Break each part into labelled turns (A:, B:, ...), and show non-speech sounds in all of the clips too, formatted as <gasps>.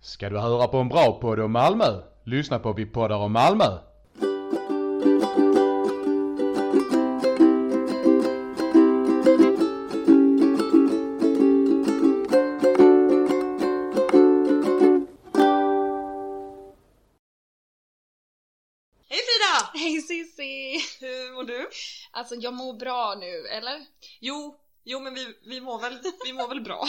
A: Ska du höra på en bra podd om Malmö? Lyssna på Vi poddar om Malmö.
B: Hej Frida!
C: Hej Cissi!
B: Hur mår du?
C: Alltså jag mår bra nu, eller?
B: Jo, jo men vi, vi, mår väl, vi mår väl bra.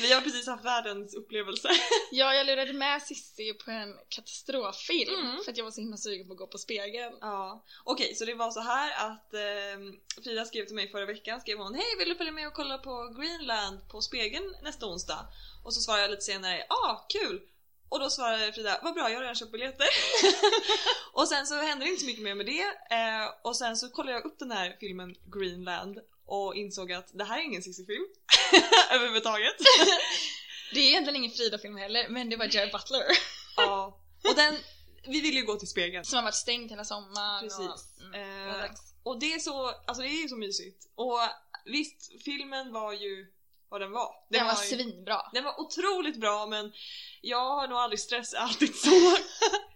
B: vi har precis haft världens upplevelse.
C: <laughs> Ja, jag lurade med Cissi på en katastroffilm
B: Mm.
C: för att jag var så himla sugen på att gå på spegeln.
B: Ja. Okej, så det var så här att eh, Frida skrev till mig förra veckan, skrev hon Hej, vill du följa med och kolla på Greenland på Spegeln nästa onsdag? Och så svarade jag lite senare, ja, ah, kul! Och då svarade Frida, vad bra jag har redan köpt biljetter. <laughs> och sen så hände det inte så mycket mer med det. Eh, och sen så kollade jag upp den här filmen Greenland och insåg att det här är ingen Cissi-film <laughs> överhuvudtaget.
C: Det är egentligen ingen Frida-film heller, men det var Jared Butler <laughs>
B: Ja, och den, vi vill ju gå till spegeln.
C: som har varit stängd hela sommaren.
B: Precis.
C: Och, mm, och
B: Eh,
C: dags.
B: och det är så, alltså det är ju så mysigt. Och visst, filmen var ju vad den var.
C: Den var
B: ju,
C: svinbra.
B: den var otroligt bra men jag har nog aldrig stressat
C: <laughs>
B: alltid så,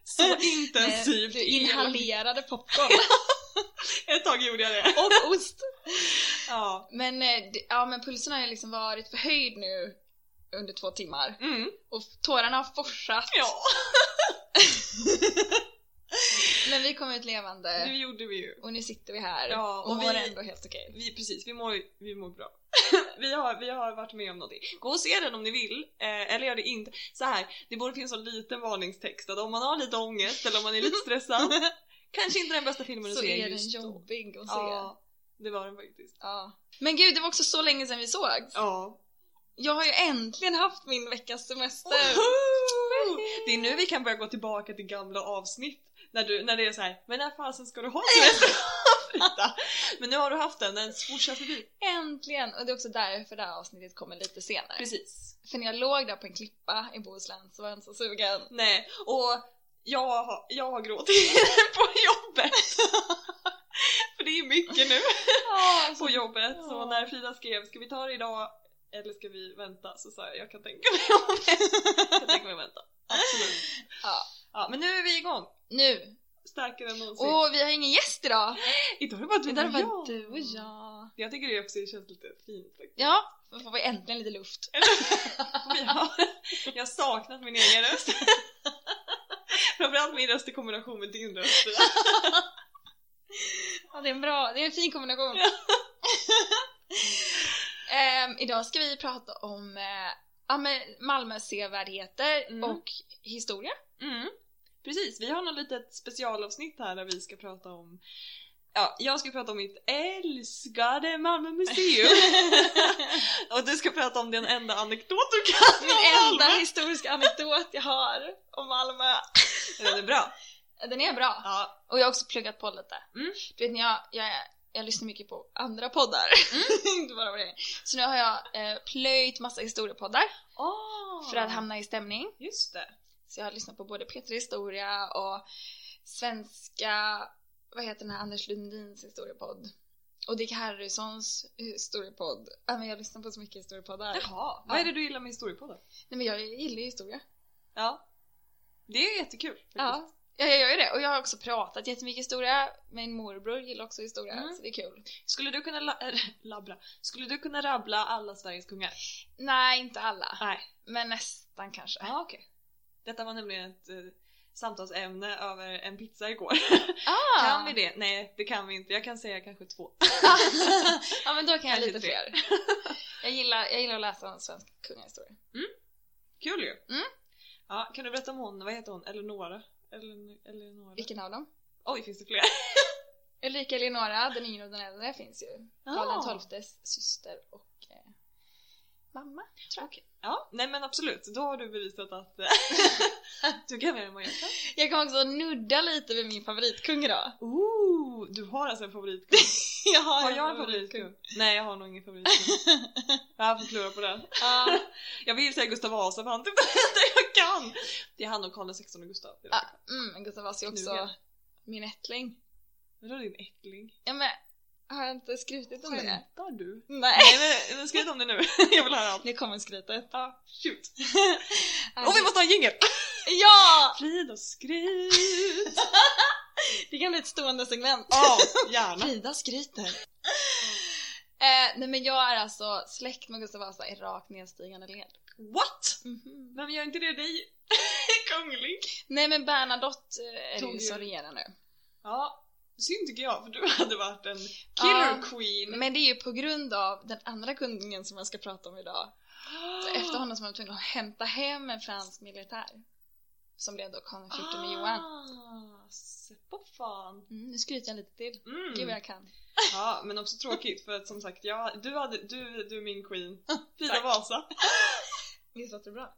B: så intensivt.
C: Eh, Du inhalerade popcorn
B: <laughs> Ett tag gjorde
C: <laughs>
B: jag det.
C: och ost.
B: Ja.
C: Men, eh, det- ja, men pulsen har ju liksom varit förhöjd nu under två timmar.
B: Mm.
C: Och tårarna har forsat.
B: Ja,
C: Men vi kom ut levande.
B: det gjorde vi ju.
C: Och nu sitter vi här
B: Ja,
C: och,
B: och
C: mår
B: vi-
C: ändå helt okej.
B: Vi, precis, vi mår, vi mår bra. <laughs> vi, har, vi har varit med om någonting. Gå och se den om ni vill, eh, eller gör det inte. Så här, det borde finnas en liten varningstext att om man har lite ångest eller om man är
C: <laughs>
B: lite stressad, kanske inte den bästa filmen att
C: så
B: se
C: är den
B: just då.
C: jobbig att se. Ja.
B: Ja, det var den faktiskt.
C: Men gud, det var också så länge sedan vi såg.
B: Ja.
C: Jag har ju äntligen haft min veckas
B: <laughs>
C: semester.
B: Woho! Det är nu vi kan börja gå tillbaka till gamla avsnitt. När, du, när det är så här, men när fasen ska du ha semester? Frida?" men nu har du haft den, den swooshar förbi.
C: Äntligen! Och det är också därför det här avsnittet kommer lite senare.
B: Precis.
C: För när jag låg där på en klippa i Bohuslän så var jag inte så sugen.
B: Nej, och jag har, jag har gråtit <laughs> på jobbet. För det är mycket nu på jobbet. Så
C: alltså. Ja.
B: när Frida skrev, ska vi ta det idag eller ska vi vänta? Så sa jag, jag kan tänka mig om Jag kan tänka mig att vänta. Absolut.
C: Ja.
B: ja, men nu är vi igång.
C: Nu!
B: Starkare än någonsin.
C: Och vi har ingen gäst idag!
B: Idag är det bara du
C: Utan det
B: och
C: var
B: jag.
C: du och jag.
B: Jag tycker det också känns lite fint <laughs> faktiskt.
C: Ja, då får vi äntligen lite luft.
B: Vi har- Jag har saknat min egen röst. <laughs> Framförallt min röst i kombination med din röst.
C: Ja, det är en bra, det är en fin kombination. <laughs> Ehm, idag ska vi prata om eh, ja, men Malmös sevärdheter
B: Mm.
C: och
B: <laughs>
C: historia.
B: Mm. Precis, vi har något litet specialavsnitt här där vi ska prata om Ja, jag ska prata om mitt älskade Malmö <laughs> museum och du ska prata om den enda anekdot du kan
C: Min
B: om
C: enda
B: Malmö.
C: historiska anekdot jag har om Malmö.
B: Den är bra.
C: Den är bra.
B: Ja.
C: Och jag har också pluggat på lite.
B: Mm.
C: Du vet när jag, jag, jag lyssnar mycket på andra poddar.
B: Mm.
C: <laughs> Inte bara på det. Så nu har jag eh, plöjt massa historiepoddar för att hamna i stämning.
B: Just det.
C: Så jag har lyssnat på både Petra Historia och svenska, vad heter den här Anders Lundins historiepodd? Och Dick Harrisons historiepodd. Ja, men jag lyssnar på så mycket historiepoddar.
B: Jaha, vad är det du gillar med historiepodden?
C: Nej men jag gillar ju historia.
B: Ja. Det är jättekul. faktiskt.
C: Ja. ja, jag gör ju det. Och jag har också pratat jättemycket historia. Min morbror gillar också historia,
B: Mm.
C: så det är kul.
B: Skulle du kunna la- <laughs> äh, labbra? Skulle du kunna rabbla alla Sveriges kungar?
C: Nej, inte alla.
B: Nej.
C: Men nästan kanske.
B: Ja, okej. Detta var nämligen ett eh, samtalsämne över en
C: <laughs>
B: pizza igår.
C: Ah.
B: Kan vi det? Nej, det kan vi inte. Jag kan säga kanske
C: <laughs>
B: två.
C: ja, men då kan jag
B: Kanske
C: lite
B: tre.
C: fler. jag, gillar, jag gillar att läsa om svensk
B: <laughs>
C: kungahistoria.
B: Kul ju!
C: Mm.
B: Ja, kan du berätta om hon, vad heter hon? Eleonora? Ele- Eleonora?
C: Vilken av dem?
B: Oj, finns det fler?
C: Ulrika Eleonora, den yngre och den äldre, finns ju.
B: Ah.
C: Karl XIIs syster och eh, mamma.
B: Okej. Ja, nej men absolut. Då har du bevisat
C: <laughs>
B: att eh, du kan mer än vad jag kan.
C: Jag kommer också nudda lite vid min favoritkung idag.
B: Ooh, du har alltså en favoritkung.
C: Jag har,
B: Har jag en <laughs> favoritkung? Nej, jag har nog
C: <laughs>
B: ingen favoritkung. Jag får klura på den.
C: Ja,
B: Jag vill säga Gustav Vasa för han typ <laughs> inte jag kan! Det är han och Karl XVI och Gustav. Det är
C: Ja. mm, Gustav Vasa är också
B: Snugen.
C: min ättling.
B: Men då är det din ättling.
C: Ja, men, har jag inte skrutit om det?
B: Skämtar du?
C: Nej.
B: <laughs> Nej men, men skryt om det nu. Jag vill höra allt.
C: Nu kommer skrytet.
B: Ja, shoot. Och vi måste ha en jingel!
C: Ja!
B: Frid och skryt!
C: <laughs> Det kan bli ett stående segment.
B: Ja, gärna!
C: Frida skryter. Eh, nej men jag är alltså släkt med Gustav Vasa i rakt nedstigande led.
B: What? Vem gör inte det dig? <laughs> Kunglig!
C: Nej men Bernadotte eh, är
B: Tog
C: ju
B: ju-
C: som regerar nu.
B: Ja, synd tycker jag för du hade varit en
C: Ja.
B: killer queen.
C: Men det är ju på grund av den andra kungen som jag ska prata om idag. Efter honom som var tvungen att hämta hem en fransk militär. Som blev då konung 14 med Johan.
B: Ah, se på fan.
C: Mm, nu skryter jag lite till.
B: Mm.
C: Gud vad jag kan.
B: Ja, men också tråkigt för att som sagt, jag, du, hade, du, du är min
C: <laughs>
B: queen. Frida
C: Tack.
B: Vasa.
C: Visst låter det bra?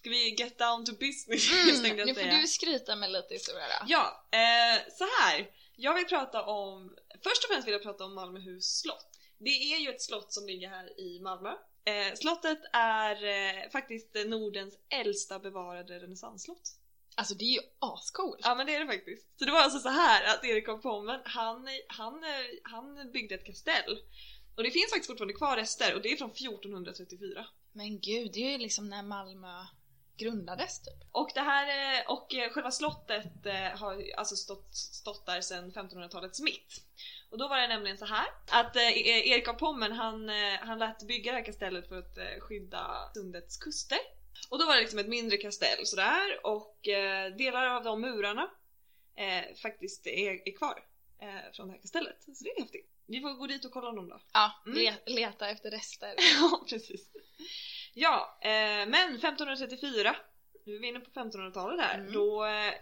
B: Ska vi get down to business tänkte
C: Mm,
B: <laughs> jag
C: nu får
B: säga.
C: du skryta med lite historia då.
B: Ja, eh, så här. Jag vill prata om, först och främst vill jag prata om Malmöhus slott. Det är ju ett slott som ligger här i Malmö. Eh, slottet är eh, faktiskt eh, Nordens äldsta bevarade renässansslott.
C: Alltså det är ju ascoolt.
B: Ja men det är det faktiskt. Så det var alltså så här att Erik av Pommern, han, han, eh, han byggde ett kastell. Och det finns faktiskt fortfarande kvar rester och det är från 1434.
C: Men gud, det är ju liksom när Malmö grundades typ.
B: Och det här, eh, och eh, själva slottet eh, har alltså stått, stått där sedan 1500-talets mitt. Och då var det nämligen så här att eh, E- Erik av Pommern han, eh, han lät bygga det här kastellet för att eh, skydda sundets kuster. Och då var det liksom ett mindre kastell sådär och eh, delar av de murarna eh, faktiskt är, är kvar eh, från det här kastellet. Så det är häftigt. Vi får gå dit och kolla dem då.
C: Ja,
B: Mm.
C: le- leta efter rester.
B: <laughs> Ja, precis. Ja, eh, men 1534, nu är vi inne på 1500-talet här,
C: Mm.
B: då, eh,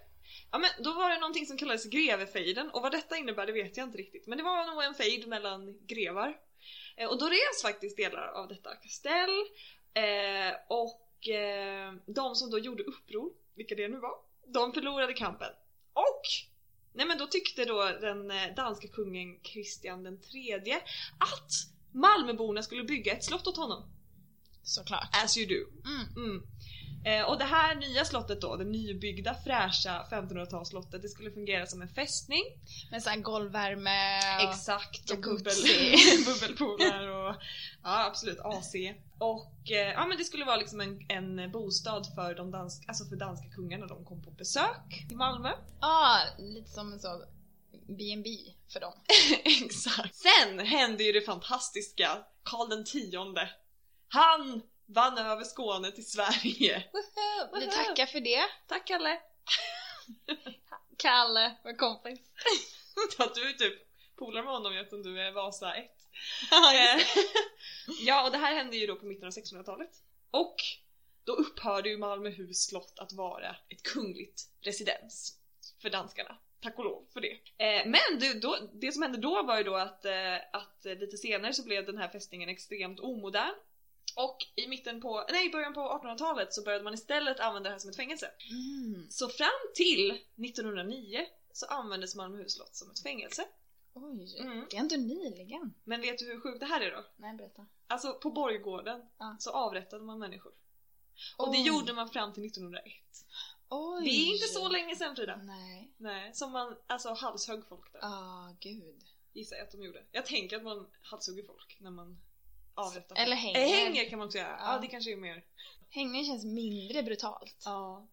B: ja, men då var det någonting som kallades grevefejden och vad detta innebär det vet jag inte riktigt men det var nog en fejd mellan grevar. Eh, och då revs faktiskt delar av detta kastell eh, och eh, de som då gjorde uppror, vilka det nu var, de förlorade kampen. Och Nej men då tyckte då den eh, danske kungen Kristian den tredje att Malmöborna skulle bygga ett slott åt honom.
C: Såklart.
B: As you do.
C: Mm.
B: Mm. Eh, och det här nya slottet då, det nybyggda fräscha 1500-talsslottet, det skulle fungera som en fästning.
C: Med sån här golvvärme och...
B: Exakt, och bubbel,
C: Jacuzzi.
B: <laughs> bubbelpooler och ja absolut AC. Och eh, ja men det skulle vara liksom en, en bostad för de danska, alltså för danska kungarna de kom på besök i Malmö.
C: Ja, lite som en sån B&B för dem.
B: <laughs> Exakt. Sen hände ju det fantastiska. Karl den tionde. Han vann över Skåne till Sverige.
C: Vi tackar för det.
B: Tack Kalle!
C: Kalle, vår kompis.
B: <laughs> Ja, du är typ polare med honom eftersom du är Vasa 1.
C: Ja,
B: <laughs> ja, och det här hände ju då på mitten av 1600-talet. Och då upphörde ju Malmöhus slott att vara ett kungligt residens för danskarna. Tack och lov för det. Eh, men det, då, det som hände då var ju då att, eh, att eh, lite senare så blev den här fästningen extremt omodern. Och i mitten på, nej i början på 1800-talet så började man istället använda det här som ett fängelse.
C: mm.
B: Så fram till 1909 så användes Malmöhus slott som ett fängelse.
C: Oj,
B: Mm.
C: det är ändå nyligen.
B: Men vet du hur sjukt det här är då?
C: Nej, berätta.
B: Alltså på borggården
C: Ja.
B: så avrättade man människor. Och det
C: Oj.
B: gjorde man fram till 1901.
C: Oj.
B: Det är inte så länge sedan Frida.
C: Nej.
B: Nej, som man alltså halshögg folk där.
C: Ja, gud.
B: Gissar jag att de gjorde. Jag tänker att man halshugger folk när man avrättar
C: Eller
B: folk.
C: hänger.
B: Eller hänger kan man också göra. Ja,
C: Ja.
B: det kanske är mer.
C: Hängning känns mindre brutalt.
B: Ja.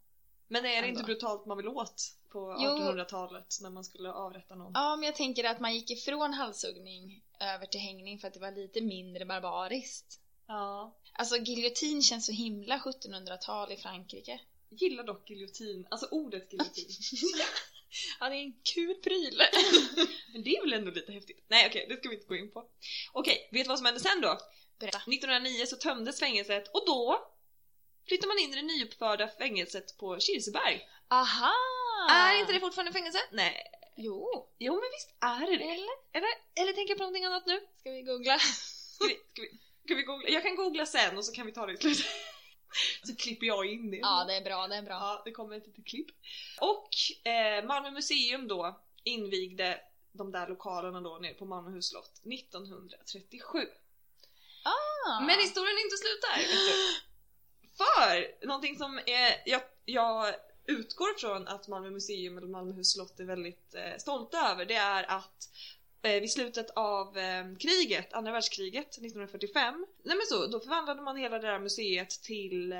B: Men är det
C: Ändå.
B: inte brutalt man vill åt på
C: Jo.
B: 1800-talet när man skulle avrätta någon?
C: Ja, men jag tänker att man gick ifrån halshuggning över till hängning för att det var lite mindre barbariskt.
B: Ja.
C: Alltså giljotin känns så himla 1700-tal i Frankrike.
B: Gillar dock giljotin, alltså ordet giljotin.
C: <laughs> Ja, det är en kul <laughs> pryl.
B: Men det är väl ändå lite häftigt? Nej okej, det ska vi inte gå in på. Okej, vet du vad som hände sen då?
C: Berätta.
B: 1909 så tömdes fängelset och då flyttade man in i det nyuppförda fängelset på Kirseberg.
C: Aha! Ah.
B: Är inte det fortfarande fängelse? Nej.
C: Jo,
B: Jo men visst är det det.
C: eller?
B: Eller tänker jag på någonting annat nu?
C: Ska vi googla?
B: Ska vi, ska vi, ska vi googla? Jag kan googla sen och så kan vi ta det i slutet. <laughs> Så klipper jag in det.
C: Ja, det är bra, det är bra.
B: Ja, det kommer ett litet klipp. Och eh, Malmö museum då invigde de där lokalerna då nere på Malmöhus slott 1937.
C: Ah.
B: Men historien är inte slut där. vet du. För någonting som är, jag, jag utgår från att Malmö museum eller Malmöhus slott är väldigt eh, stolta över det är att eh, vid slutet av eh, kriget, andra världskriget 1945, nej men så, då förvandlade man hela det här museet till eh,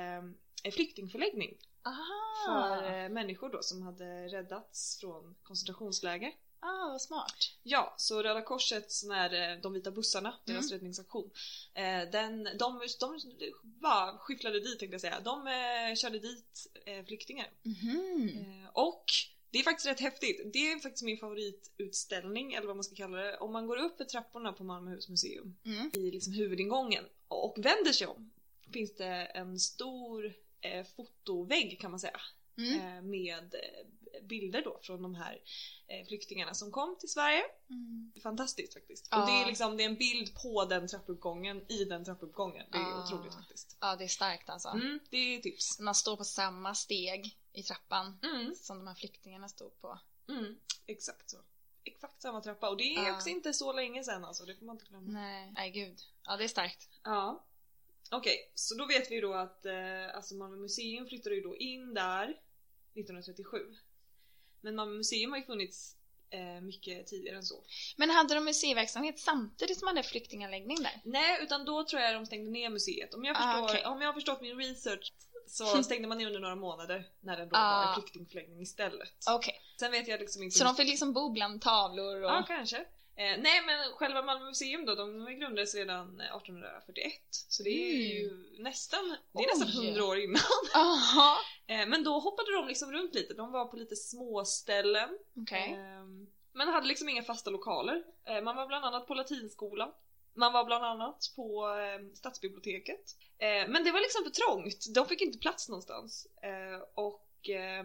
B: en flyktingförläggning
C: Aha!
B: för eh, människor då som hade räddats från koncentrationsläger.
C: Ah, vad smart.
B: Ja, så Röda Korset, sån här, eh, de vita bussarna, deras räddningsaktion. Eh, den, de, de, bara skyfflade dit tänkte jag säga. De eh, körde dit eh, flyktingar.
C: Mhm.
B: Eh, och det är faktiskt rätt häftigt. Det är faktiskt min favoritutställning eller vad man ska kalla det. Om man går upp för trapporna på Malmöhus museum
C: Mm.
B: i liksom huvudingången och vänder sig om finns det en stor eh, fotovägg kan man säga
C: Mm.
B: eh, med eh, bilder då från de här eh, flyktingarna som kom till Sverige.
C: Mm.
B: Fantastiskt faktiskt.
C: Ja.
B: Och det är liksom det är en bild på den trappuppgången i den trappuppgången. Det är
C: Ja.
B: otroligt faktiskt.
C: Ja, det är starkt alltså.
B: Mm, det är tips.
C: Man står på samma steg i trappan
B: Mm,
C: som de här flyktingarna stod på.
B: mm, exakt så. Exakt samma trappa och det är
C: Ja.
B: också inte så länge sedan alltså, det får man inte glömma.
C: Nej, nej gud. Ja, det är starkt.
B: Ja. Okej, så då vet vi ju då att eh, alltså Malmö museum flyttade ju då in där 1937. Men Malmö museum har ju funnits eh, mycket tidigare än så.
C: Men hade de museiverksamhet samtidigt som man hade flyktinganläggning där?
B: Nej, utan då tror jag de stängde ner museet. Om jag,
C: Ah,
B: förstår,
C: okej.
B: om jag har förstått min research
C: <laughs>
B: så stängde man ner under några månader när den då
C: Ah.
B: var en flyktingförläggning istället.
C: Okej,
B: Sen vet jag liksom inte...
C: så de fick liksom bo bland tavlor och...
B: Ja, kanske. Eh, nej, men själva Malmö museum då, de grundades redan 1841. Så det är ju nästan, det är nästan
C: Oj.
B: 100 år innan.
C: <laughs> Aha.
B: Eh, men då hoppade de liksom runt lite, de var på lite småställen.
C: Okej.
B: Ehm, Men hade liksom inga fasta lokaler. Eh, Man var bland annat på latinskolan. Man var bland annat på eh, stadsbiblioteket. Eh, Men det var liksom för trångt. De fick inte plats någonstans. Eh, Och eh,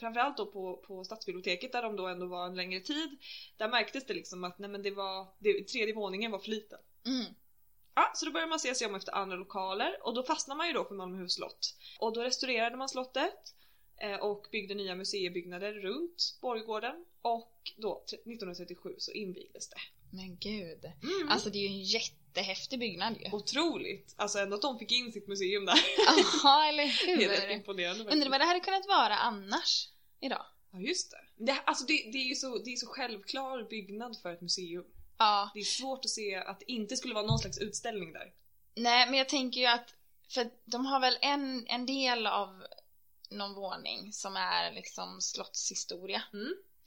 B: framförallt då på, på stadsbiblioteket där de då ändå var en längre tid. Där märktes det liksom att nej men det var, det, tredje våningen var för liten.
C: Mm.
B: Ja, så då började man se sig om efter andra lokaler och då fastnade man ju då för Malmöhus slott. Och då restaurerade man slottet eh, och byggde nya museibyggnader runt borggården och då t- 1937 så invigdes det.
C: Men gud.
B: Mm.
C: Alltså det är ju en jättehäftig byggnad
B: <laughs>
C: ju.
B: Otroligt! Alltså ändå att de fick in sitt museum där.
C: Jaha, eller
B: <laughs> Det är rätt
C: hur?
B: imponerande
C: Undrar
B: faktiskt.
C: vad det hade kunnat vara annars idag?
B: Ja just det. det alltså det, det är ju så, det är så självklar byggnad för ett museum.
C: Ja,
B: Det är svårt att se att det inte skulle vara någon slags utställning där.
C: nej men jag tänker ju att, för de har väl en, en del av någon våning som är liksom slottshistoria.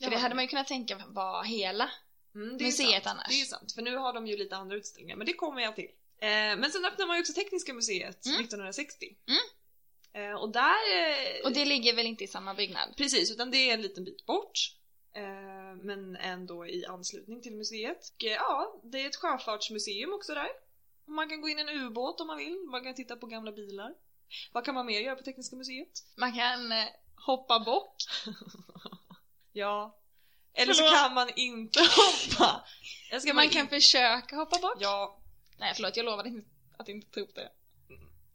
C: För det hade man ju kunnat tänka var hela.
B: Mm, det är
C: Museet
B: sant.
C: annars.
B: Det är sant, för nu har de ju lite andra utställningar, men det kommer jag till. Eh, men sen öppnade man ju också Tekniska museet
C: Mm.
B: 1960. Eh, och där... Eh,
C: Och det ligger väl inte i samma byggnad?
B: Precis, utan det är en liten bit bort. Eh, men ändå i anslutning till museet. Och, eh, ja, det är ett sjöfartsmuseum också där. Och man kan gå in i en ubåt om man vill, man kan titta på gamla bilar. Vad kan man mer göra på Tekniska museet?
C: Man kan eh, hoppa bock.
B: Ja. Eller så
C: Förlåt.
B: kan man inte <laughs> hoppa. Jag ska
C: Man
B: bara
C: kan
B: in-
C: försöka hoppa bock.
B: Ja,
C: Nej förlåt, jag lovade inte- att inte ta upp det.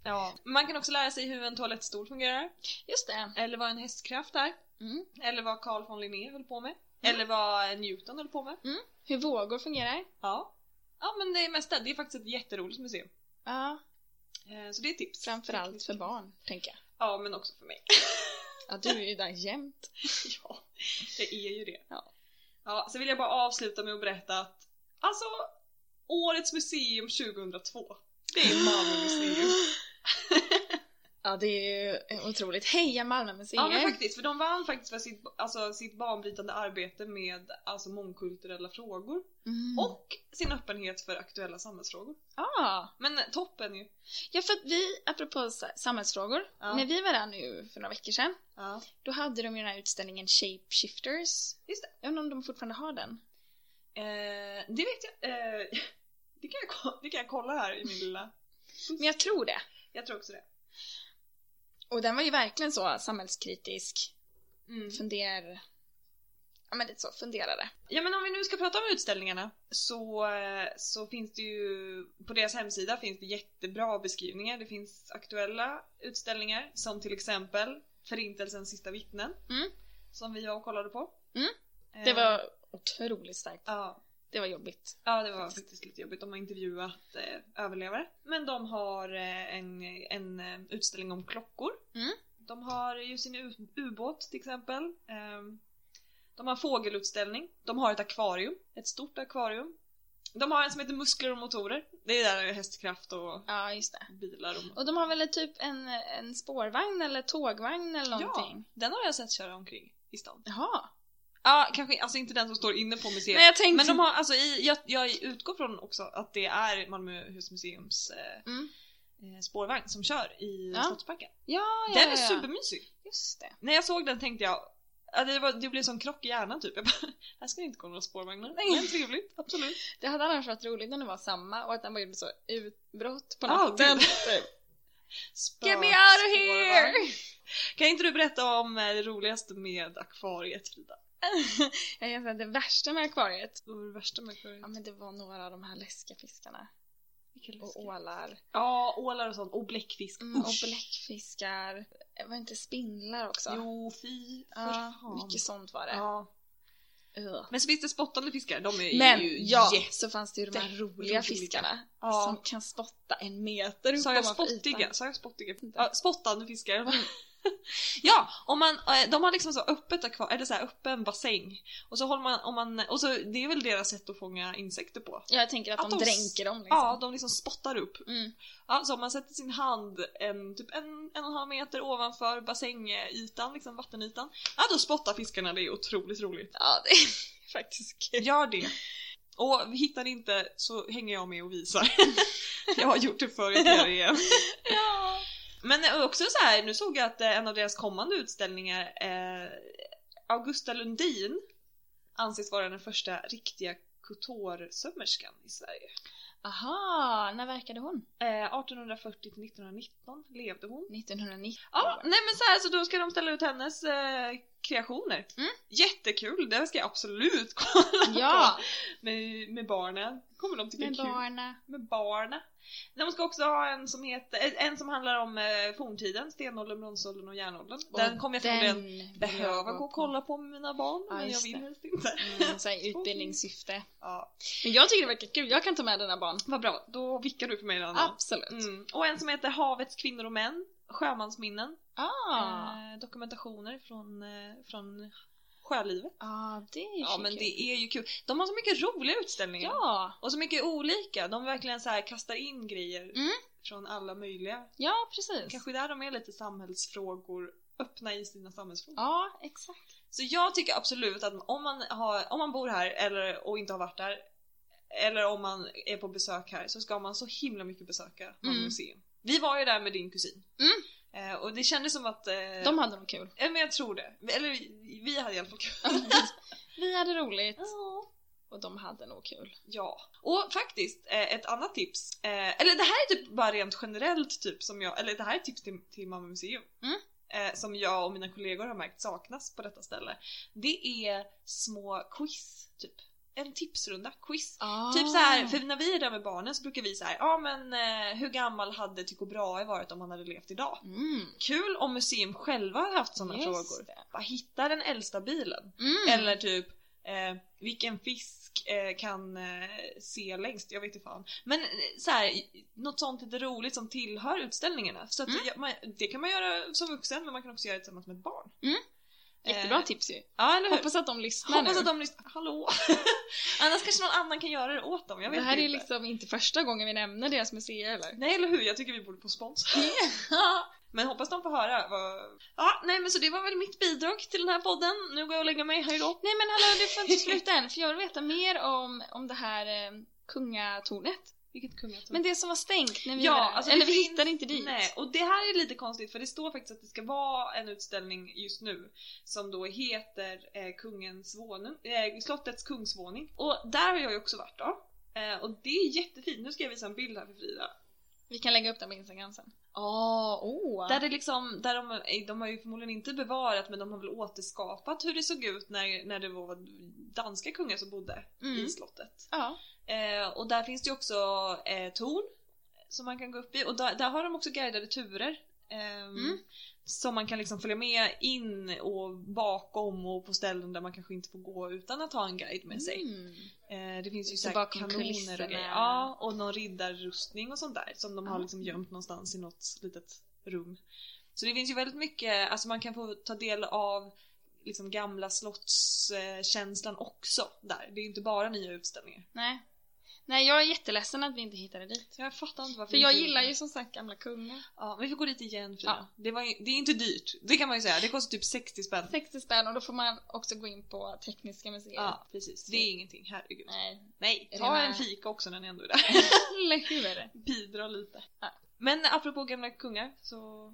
B: Ja. Man kan också lära sig hur en toalettstol fungerar,
C: Just det.
B: eller vad en hästkraft är,
C: Mm.
B: eller vad Carl von Linné höll på med, eller vad Newton höll på med.
C: Hur vågor fungerar.
B: Ja. Ja men det är mesta, det är faktiskt ett jätteroligt museum.
C: Ja,
B: Eh, Så det är ett tips.
C: framförallt för barn, tänker jag.
B: Ja men också för mig.
C: Ja, du är ju där <laughs> jämt.
B: ja, det är ju det.
C: Ja.
B: Ja, sen vill jag bara avsluta med att berätta att alltså årets museum 2002, det är Malmö museum.
C: <laughs> Ja, det är ju otroligt. Heja Malmö museer!
B: Ja men faktiskt, för de vann faktiskt för sitt, alltså, sitt banbrytande arbete med alltså, mångkulturella frågor.
C: Mm.
B: Och sin öppenhet för aktuella samhällsfrågor.
C: Ja.
B: Men eh, toppen ju!
C: ja, för att vi, apropå sa- samhällsfrågor,
B: Ja.
C: när vi var där nu för några veckor sedan,
B: Ja.
C: då hade de ju den här utställningen Shapeshifters.
B: Just det.
C: Jag undrar om de fortfarande har den.
B: Eh, det vet jag... Eh, <laughs> det, kan jag ko- det kan jag kolla här
C: <laughs>
B: i min lilla...
C: Men jag tror det.
B: Jag tror också det.
C: Och den var ju verkligen så samhällskritisk.
B: Mm.
C: Funder... Ja, men lite så, funderade.
B: Ja men om vi nu ska prata om utställningarna så, eh, så finns det ju... På deras hemsida finns det jättebra beskrivningar. Det finns aktuella utställningar som till exempel Förintelsens sista vittnen.
C: Mm.
B: Som vi var och kollade på.
C: Mm.
B: Eh,
C: Det var otroligt starkt.
B: Ja,
C: Det var jobbigt.
B: Ja det var faktiskt lite jobbigt. De har intervjuat eh, överlevare. Men de har eh, en, en eh, utställning om klockor.
C: Mm.
B: De har ju sin u- ubåt till exempel. Ehm, de har en fågelutställning. De har ett akvarium. Ett stort akvarium. De har en som heter Muskler och motorer. Det är där hästkraft och
C: Ja, just det.
B: bilar och...
C: Och de har väl typ en, en spårvagn eller tågvagn eller
B: Ja.
C: någonting?
B: Den har jag sett köra omkring i stan.
C: Jaha.
B: Ja, kanske alltså inte den som står inne på museet.
C: Nej, jag tänkte...
B: Men de har, alltså i, jag, jag utgår från också att det är Malmöhus museums eh,
C: Mm.
B: eh, spårvagn som kör i
C: Ja.
B: Slottsbacken.
C: Ja, ja,
B: Den är
C: ja, ja.
B: supermysig.
C: Just det.
B: När jag såg den tänkte jag att det, var, det blev som krock i hjärnan typ. Jag bara, <laughs> här ska det inte gå några spårvagnar.
C: Nej.
B: Men trevligt, absolut.
C: Det hade annars varit roligt om det var samma och att den bara gjorde så utbrott på
B: Ja,
C: natten.
B: den- <laughs>
C: typ.
B: Spök,
C: Get me out of
B: spårvagn.
C: here!
B: Kan inte du berätta om eh, det roligaste med akvariet Frida?
C: <laughs> Jag kan säga att det värsta med akvariet,
B: Vad var det värsta med akvariet?
C: ja men det var några av de här läskiga fiskarna.
B: Vilken
C: Och
B: läskig-
C: ålar.
B: Ja, ålar och sånt. Och bläckfisk.
C: Mm, och
B: Usch.
C: bläckfiskar. Det Var inte spindlar också?
B: Jo, fy. för
C: ja,
B: fan.
C: mycket sånt var det.
B: Ja.
C: Ugh.
B: Men så finns det spottande fiskar, de är
C: Men
B: ju
C: ja,
B: jätte-
C: så fanns det ju de här
B: jätte-
C: roliga
B: roliga.
C: fiskarna
B: Ja.
C: som kan spotta en meter upp
B: Sa jag
C: ovanför ytan.
B: spottiga? Sa jag spottiga?
C: Inte.
B: Ja, spottande fiskar. <laughs> ja, om man, eh, de har liksom så öppet akvar, eller så här öppen bassäng. Och så håller man, om man, och så det är väl deras sätt att fånga insekter på.
C: Ja, jag tänker att,
B: Att
C: de,
B: de s-
C: dränker dem liksom.
B: Ja, de liksom spottar upp.
C: Mm.
B: Ja, så om man sätter sin hand en, typ en, en och en halv meter ovanför bassängytan, liksom vattenytan. Ja, då spottar fiskarna, det är otroligt roligt.
C: ja, det är <laughs> faktiskt kul.
B: Gör det! Och hittar ni inte så hänger jag med och visar. <laughs> jag har gjort det förr, jag gör det igen.
C: Ja.
B: Men också så här, nu såg jag att eh, en av deras kommande utställningar, eh, Augusta Lundin, anses vara den första riktiga couture-sömmerskan i Sverige.
C: Aha, när verkade hon?
B: Eh, 1840 till 1919 levde hon.
C: 1990.
B: Ja, nej men så här, så då ska de ställa ut hennes eh, kreationer.
C: Mm.
B: Jättekul, det ska jag absolut kolla
C: Ja,
B: på med, med barnen. kommer de tycka är
C: med
B: kul.
C: barna.
B: Med barnen. De ska också ha en som, heter, en som handlar om eh, forntiden, stenåldern, bronsåldern och järnåldern. den kommer jag förmodligen
C: den vill
B: behöva
C: jag
B: gå och kolla på med mina barn,
C: Ja,
B: men jag
C: just
B: vill
C: det.
B: helst inte.
C: Mm,
B: <laughs>
C: så här utbildningssyfte.
B: Ja.
C: Men jag tycker det verkar kul, jag kan ta med dina barn.
B: Vad bra, då vickar du för mig den andra.
C: Absolut.
B: Mm. Och en som heter Havets kvinnor och män, Sjömansminnen.
C: Ah.
B: eh, dokumentationer från, eh, från sjölivet.
C: ah, det är ju
B: Ja men
C: kul.
B: det är ju kul. De har så mycket roliga utställningar.
C: Ja,
B: Och så mycket olika. De verkligen så här kastar in grejer
C: Mm.
B: från alla möjliga.
C: ja precis.
B: Kanske där de är lite samhällsfrågor, öppna i sina samhällsfrågor.
C: Ja, exakt.
B: Så jag tycker absolut att om man, har, om man bor här eller, och inte har varit där, eller om man är på besök här, så ska man så himla mycket besöka Malmö
C: Mm.
B: museum. Vi var ju där med din kusin.
C: Mm.
B: Eh, och det kändes som att... Eh,
C: De hade nog kul.
B: Ja men jag tror det. Eller vi- vi hade i alla fall kul. <laughs>
C: Vi hade roligt och de hade nog kul.
B: Ja. Och faktiskt, eh, ett annat tips. Eh, eller det här är typ bara rent generellt typ som jag, eller det här är tips till, till Malmö museum.
C: Mm.
B: Eh, som jag och mina kollegor har märkt saknas på detta ställe. Det är små quiz, typ. En tipsrunda, quiz. Typ så
C: Ah.
B: här, för när vi är där med barnen så brukar vi så här, ja men eh, hur gammal hade Tycho Brahe varit om han hade levt idag?
C: Mm.
B: Kul om museum själva har haft sådana
C: Just
B: frågor.
C: det.
B: Bara hitta den äldsta bilen.
C: Mm.
B: Eller typ eh, vilken fisk eh, kan eh, se längst? Jag vet inte fan. Men eh, så här, i- något sånt lite roligt som tillhör utställningarna. Så att
C: Mm.
B: jag, man, det kan man göra som vuxen men man kan också göra det tillsammans med ett barn.
C: Mm. Jättebra
B: Eh,
C: tips ju.
B: Ja eller hur? Hoppas,
C: Hoppas att de lyssnar
B: hoppas
C: nu.
B: att de lyssnar.
C: <laughs>
B: Hallå! Annars kanske någon annan kan göra det åt dem. Jag vet
C: det här
B: inte.
C: är liksom inte första gången vi nämner deras museer
B: <laughs>
C: eller?
B: Nej eller hur? Jag tycker vi borde få spons. men hoppas de får höra. Vad... Ja, nej men så det var väl mitt bidrag till den här podden. Nu går jag och lägger mig. Hej då.
C: Nej men hallå du får
B: <laughs>
C: inte sluta än för jag vill veta mer om, om det här eh, kungatornet.
B: Vilket kungatorn.
C: Men det som var stängt när vi
B: Mm. Ja,
C: var där.
B: alltså, det
C: Eller vi
B: finns-
C: hittade inte dit.
B: Nej, och det här är lite konstigt för det står faktiskt att det ska vara en utställning just nu som då heter eh, kungens våning, eh, Slottets kungsvåning. Och där har jag ju också varit då. Eh, och det är jättefint. Nu ska jag visa en bild här för Frida.
C: Vi kan lägga upp den på Instagram sen.
B: Ja,
C: Oh.
B: Där det liksom, där de, de har ju förmodligen inte bevarat men de har väl återskapat hur det såg ut när, när det var danska kungar som bodde
C: Mm.
B: i slottet.
C: Ja.
B: Eh, och där finns det ju också eh, torn som man kan gå upp i och där, där har de också guidade turer. ehm,
C: Mm.
B: Som man kan liksom följa med in och bakom och på ställen där man kanske inte får gå utan att ha en guide med sig.
C: Mm.
B: Eh, det finns ju
C: Så
B: så här
C: bakom
B: kanoner
C: kulisserna.
B: och grejer. Ja, och någon riddarrustning och sånt där som de har
C: Ah.
B: liksom gömt någonstans i något litet rum. Så det finns ju väldigt mycket, alltså man kan få ta del av liksom gamla slottskänslan också där. Det är ju inte bara nya utställningar.
C: Nej. Nej, jag är jätteledsen att vi inte hittade dit.
B: Jag fattar inte varför
C: För
B: vi
C: jag
B: inte
C: gillar
B: gjorde
C: ju
B: det.
C: som sagt gamla kungar.
B: Ja, vi får gå dit igen Frida.
C: Ja.
B: Det, var, ju- det är inte dyrt. Det kan man ju säga. Det kostar typ 60 spänn.
C: 60 spänn och då får man också gå in på Tekniska museet.
B: Ja, precis. Det är ingenting. Herregud.
C: Nej,
B: Nej,
C: Är
B: ta
C: det
B: en
C: med-
B: fika också när ni ändå är där. <laughs>
C: eller hur?
B: Bidra lite.
C: Ja.
B: Men apropå gamla kungar så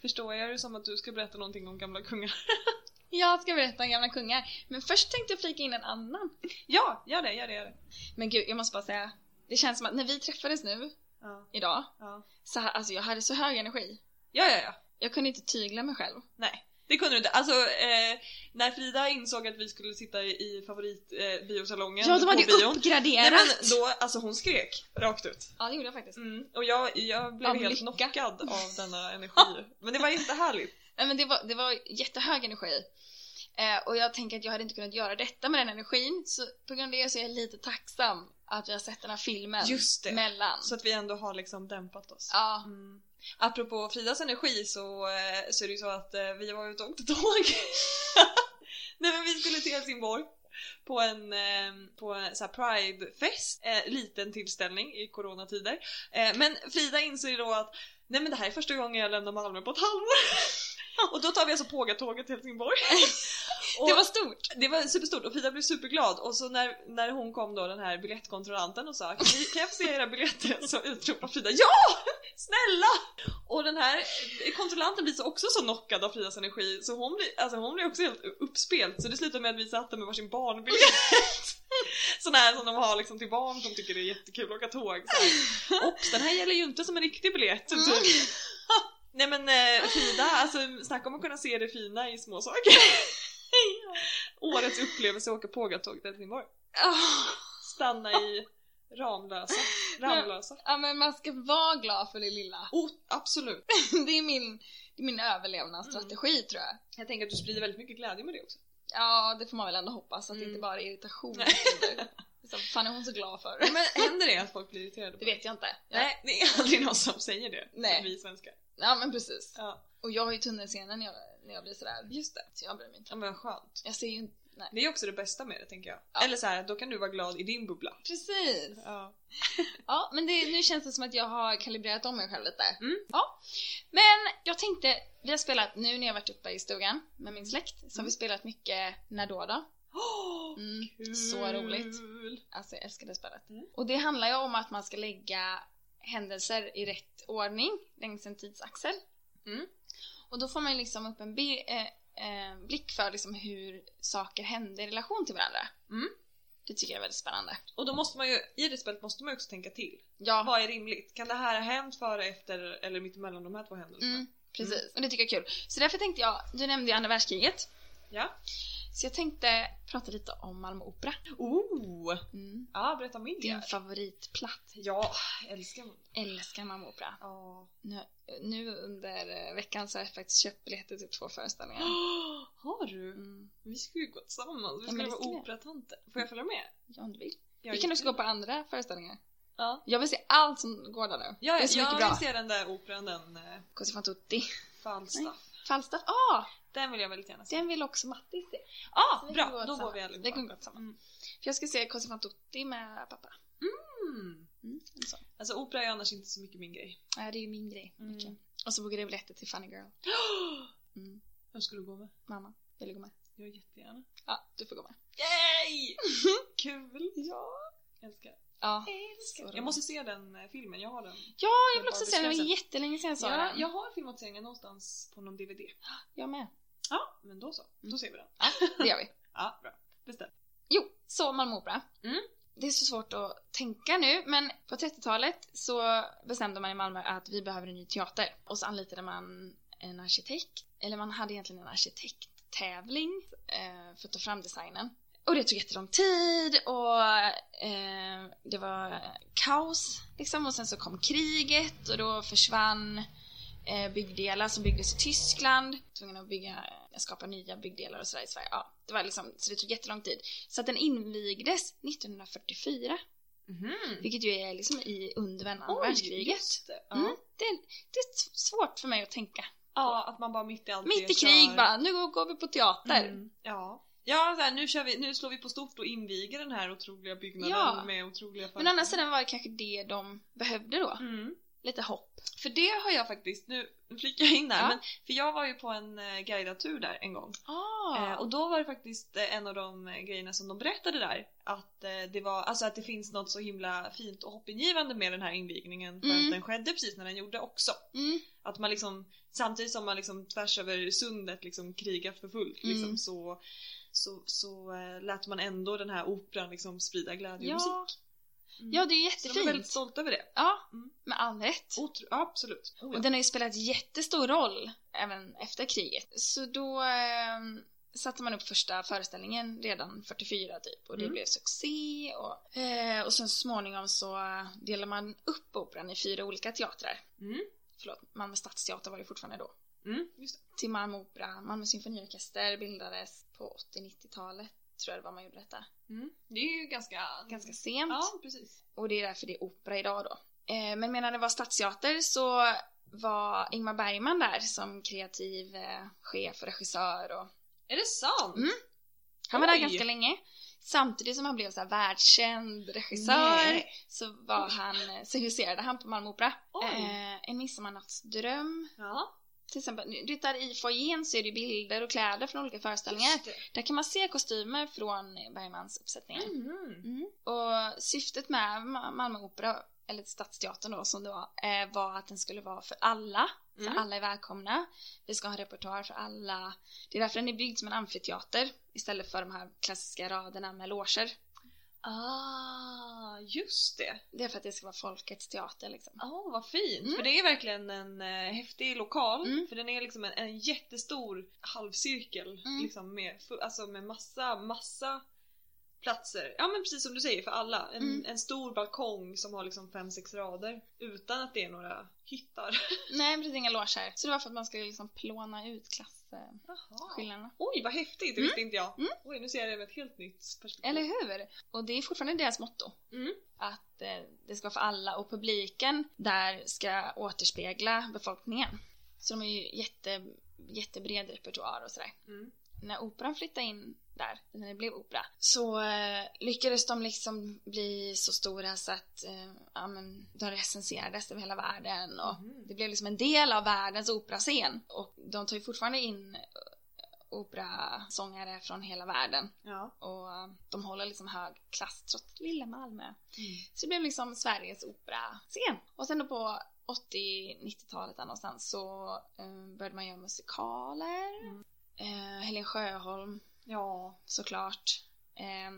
B: förstår jag det som att du ska berätta någonting om gamla kungar. <laughs>
C: Jag ska berätta om gamla kungar. Men först tänkte jag flika in en annan.
B: Ja, gör det, gör det, gör det.
C: Men gud, jag måste bara säga. Det känns som att när vi träffades nu,
B: Ja,
C: idag,
B: ja.
C: så här, alltså jag hade så hög energi.
B: ja, ja. ja.
C: Jag kunde inte tygla mig själv.
B: Nej, det kunde du inte. Alltså, eh, när Frida insåg att vi skulle sitta i i favoritbiosalongen eh, biosalongen
C: Ja, de hade
B: på bion.
C: uppgraderat!
B: Nej men då, alltså hon skrek rakt ut.
C: Ja, det gjorde jag faktiskt.
B: Mm. Och jag, jag blev
C: Av
B: helt
C: lycka. <laughs>
B: knockad av denna energi. Men det var jättehärligt.
C: Nej, men det var, det var jättehög energi. Eh, och jag tänker att jag hade inte kunnat göra detta med den energin. Så på grund av det så är jag lite tacksam att vi har sett den här filmen
B: Just det.
C: mellan.
B: Så att vi ändå har liksom dämpat oss.
C: Ja,
B: Mm. Apropå Fridas energi så, eh, så är det ju så att eh, vi var ute och åkte tåg. <laughs> Nej men vi skulle till Helsingborg på en, eh, på en så här Pride-fest, eh, liten tillställning i coronatider. Eh, men Frida inser ju då att nej men det här är första gången jag lämnar Malmö på ett
C: <laughs>
B: halvår. och då tar vi alltså Pågatåget till Helsingborg. Och-
C: det var stort!
B: det var superstort och Frida blev superglad och så när, när hon kom då den här biljettkontrollanten och sa kan vi- kan jag få se era biljetter så utropar Frida JA! Snälla! Och den här kontrollanten blir så också så knockad av Fridas energi så hon blir, alltså hon blir också helt uppspelt så det slutar med att vi satt där med varsin barnbiljett <laughs> Sån här som de har liksom till barn som tycker det är jättekul att åka tåg så här. Ops, den här gäller ju inte som en riktig biljett typ.
C: <laughs> Mm.
B: Nej men eh, Frida, alltså snacka om att kunna se det fina i små <laughs> saker Årets upplevelse att åka pågatåg till Helsingborg.
C: Ah,
B: Stanna i Ramlösa. <laughs> Ramlösa.
C: Ja, men man ska vara glad för det lilla. <laughs>
B: Oh, absolut.
C: Det är min, det är min överlevnadsstrategi
B: Mm.
C: tror jag.
B: Jag tänker att du sprider väldigt mycket glädje med det också.
C: Ja, det får man väl ändå hoppas att det
B: Mm.
C: inte bara är irritation.
B: Nej.
C: Så, fan är hon så glad
B: <laughs>
C: för?
B: Men händer det att folk blir irriterade?
C: Det vet jag inte.
B: Nej, det är aldrig någon som säger det.
C: Nej.
B: Som vi svenskar.
C: Ja men precis.
B: Ja.
C: Och jag har ju tunnelseende när jag, när jag blir sådär.
B: Just det.
C: Så jag bryr mig inte.
B: Ja men skönt.
C: Jag ser ju inte... Nej.
B: Det är också det bästa med det tänker jag.
C: Ja.
B: Eller så här, då kan du vara glad i din bubbla.
C: Precis!
B: <gasps> Ja.
C: Ja, men det, nu känns det som att jag har kalibrerat om mig själv lite.
B: Mm.
C: Ja. Men jag tänkte, vi har spelat nu när jag varit uppe i stugan med min släkt, så har
B: Mm.
C: vi spelat mycket När då då.
B: Oh,
C: Mm.
B: kul.
C: Så roligt. Alltså jag älskar det spelet.
B: Mm.
C: Och det handlar ju om att man ska lägga händelser i rätt ordning längs en tidsaxel.
B: Mm.
C: Och då får man ju liksom upp en bi- eh, eh, blick för liksom hur saker hände i relation till varandra.
B: Mm.
C: Det tycker jag är väldigt spännande.
B: Och då måste man ju, i det spelet måste man ju också tänka till.
C: Ja,
B: Vad är rimligt? Kan det här ha hänt före, efter eller mittemellan de här två händelserna?
C: mm, precis. Och det tycker jag är kul. Så därför tänkte jag, du nämnde ju andra världskriget.
B: Ja.
C: Så jag tänkte prata lite om Malmö Opera.
B: Oh!
C: Mm.
B: Ja, berätta om
C: Din
B: Indien.
C: favoritplats.
B: Ja, jag älskar man.
C: Älskar Malmö Opera.
B: Ja. <gasps>
C: Nu, nu under eh, veckan så har jag faktiskt köpt biljetter till två föreställningar.
B: <gasps> Har du?
C: Mm.
B: Vi skulle ju gå tillsammans. Vi
C: Ja, men
B: skulle
C: det
B: vara
C: skulle vi.
B: operatanter. Får jag följa med?
C: Ja, om du vill.
B: Jag
C: vi kan också gå på andra föreställningar.
B: Ja.
C: Jag vill se allt som går där nu.
B: Ja,
C: det är så
B: jag
C: mycket bra.
B: vill se den där operan, den eh,
C: Così fan tutti.
B: Falstaff.
C: Falstaff, ah!
B: Den vill jag väldigt gärna se.
C: Den vill också Matti se.
B: Ja,
C: Så vi kan
B: bra!
C: gå
B: Då går
C: tillsammans. Vi
B: vi
C: kan
B: allihopa.
C: gå tillsammans.
B: Mm.
C: För jag ska se Così fan tutti med pappa.
B: Mm.
C: Mm. Så.
B: Alltså opera är annars inte så mycket min grej.
C: Ja, det är ju min grej.
B: Mm.
C: mycket. Och så bokade jag biljetter till Funny Girl. Mm.
B: Vem skulle du gå med?
C: Mamma, vill du gå med?
B: Jag
C: <laughs>
B: jättegärna.
C: Ja, du får gå med. <laughs>
B: Yay! Kul!
C: Ja.
B: Älskar.
C: Ja,
B: Älskar.
C: Så
B: Jag måste se den eh, filmen, jag har den.
C: jag vill också se den. Det var jättelänge sedan jag såg
B: Ja,
C: den.
B: jag har filmatiseringen någonstans på någon DVD.
C: jag med.
B: Ja, men då så.
C: Mm.
B: Då ser vi den.
C: Det gör vi.
B: Ja, bra. Bestämt.
C: Jo, så Malmö Opera.
B: Mm.
C: Det är så svårt att tänka nu, men på 30-talet så bestämde man i Malmö att vi behöver en ny teater. Och så anlitade man en arkitekt, eller man hade egentligen en arkitekttävling eh, för att ta fram designen. Och det tog jättelång tid och eh, det var kaos liksom och sen så kom kriget och då försvann eh, byggdelar som byggdes i Tyskland. Tvungna att bygga, skapa nya byggdelar och sådär i Sverige. Ja, det var liksom, så det tog jättelång tid. Så att den invigdes 1944, Mhm.
B: Mm.
C: vilket ju är liksom i under andra
B: Oj,
C: världskriget.
B: just det. Ja.
C: Mm, det, det är s- svårt för mig att tänka.
B: ja, att man bara mitt i allt
C: Mitt
B: det
C: i krig
B: kör-
C: bara, nu går, går vi på teater.
B: Mm. Ja, Ja, så här, nu, kör vi, nu slår vi på stort och inviger den här otroliga byggnaden
C: Ja.
B: med otroliga
C: Men å andra sidan var det kanske det de behövde då.
B: Mm.
C: Lite hopp.
B: För det har jag faktiskt, nu nu flikar jag in där,
C: Ja.
B: men för jag var ju på en eh, guidad tur där en gång. Eh,
C: och,
B: och då var det faktiskt eh, en av de eh, grejerna som de berättade där. Att, eh, det var, alltså att det finns något så himla fint och hoppingivande med den här invigningen. För
C: Mm.
B: att den skedde precis när den gjorde också.
C: mm,
B: Att man liksom, samtidigt som man liksom tvärs över sundet liksom krigar för fullt liksom,
C: Mm.
B: så, så, så eh, lät man ändå den här operan liksom sprida glädje och musik.
C: ja.
B: Mm.
C: ja, det är ju
B: Så de är väldigt
C: jättefint.
B: stolta över det.
C: Ja,
B: Mm.
C: med all rätt.
B: Otro, ja, absolut. Oh, ja.
C: Och den har ju spelat jättestor roll även efter kriget. Så då eh, satte man upp första föreställningen redan 44 typ och det
B: Mm.
C: blev succé och, eh, och sen så småningom så delade man upp operan i fyra olika teatrar.
B: Mm.
C: Förlåt, Malmö Stadsteater var det fortfarande då.
B: Mm, just det.
C: Till Malmö Opera, Malmö Symfoniorkester bildades på 80-90-talet tror jag det var man gjorde detta.
B: Mm. Det är ju ganska...
C: Ganska sent.
B: Ja, precis.
C: Och det är därför det är opera idag då. Eh, men medan det var stadsteater så var Ingmar Bergman där som kreativ eh, chef och regissör och
B: Är det sant?
C: Mm. han var där
B: Oj!
C: ganska länge. Samtidigt som han blev så här världskänd regissör
B: Nej.
C: så var
B: Oj.
C: han, eh, så huserade han på Malmö Opera.
B: Oj.
C: Eh, en midsommarnattsdröm.
B: Ja.
C: Till exempel, du vet där i foajén så är det ju bilder och kläder från olika föreställningar.
B: Just det.
C: Där kan man se kostymer från Bergmans uppsättningar.
B: Mhm.
C: Och syftet med Ma- Malmö Opera, eller Stadsteatern då som det var, eh, var att den skulle vara för alla. För
B: Mm.
C: alla är välkomna. Vi ska ha repertoar för alla. Det är därför den är byggd som en amfiteater istället för de här klassiska raderna med loger.
B: Ah, just det.
C: Det är för att det ska vara folkets teater liksom.
B: Åh, vad fint!
C: Mm.
B: För det är verkligen en eh, häftig lokal.
C: Mm.
B: För den är liksom en, en jättestor halvcirkel.
C: Mm.
B: Liksom med, fu- alltså med massa, massa platser. Ja men precis som du säger för alla. En,
C: Mm.
B: en stor balkong som har liksom fem, sex rader. Utan att det är några hyttar.
C: Nej, precis inga loger. Så det var för att man skulle liksom plåna ut klasskillnaderna.
B: <laughs> Oj vad häftigt! Det
C: Mm.
B: visste inte jag.
C: Mm.
B: Oj nu ser jag det med ett helt nytt perspektiv.
C: Eller hur? Och det är fortfarande deras motto.
B: Mm.
C: Att eh, det ska vara för alla och publiken där ska återspegla befolkningen. Så de har ju jätte, jättebred repertoar och sådär.
B: Mm.
C: När operan flyttade in där, när det blev opera, så eh, lyckades de liksom bli så stora så att eh, ja, men, de recenserades över hela världen och
B: Mhm.
C: det blev liksom en del av världens operascen. Och de tar ju fortfarande in eh, operasångare från hela världen.
B: Ja.
C: Och eh, de håller liksom hög klass trots lilla Malmö. Så det blev liksom Sveriges operascen. Och sen då på 80-90-talet där någonstans så eh, började man göra musikaler.
B: Mm.
C: Eh, Helen Sjöholm
B: Ja.
C: såklart. Eh,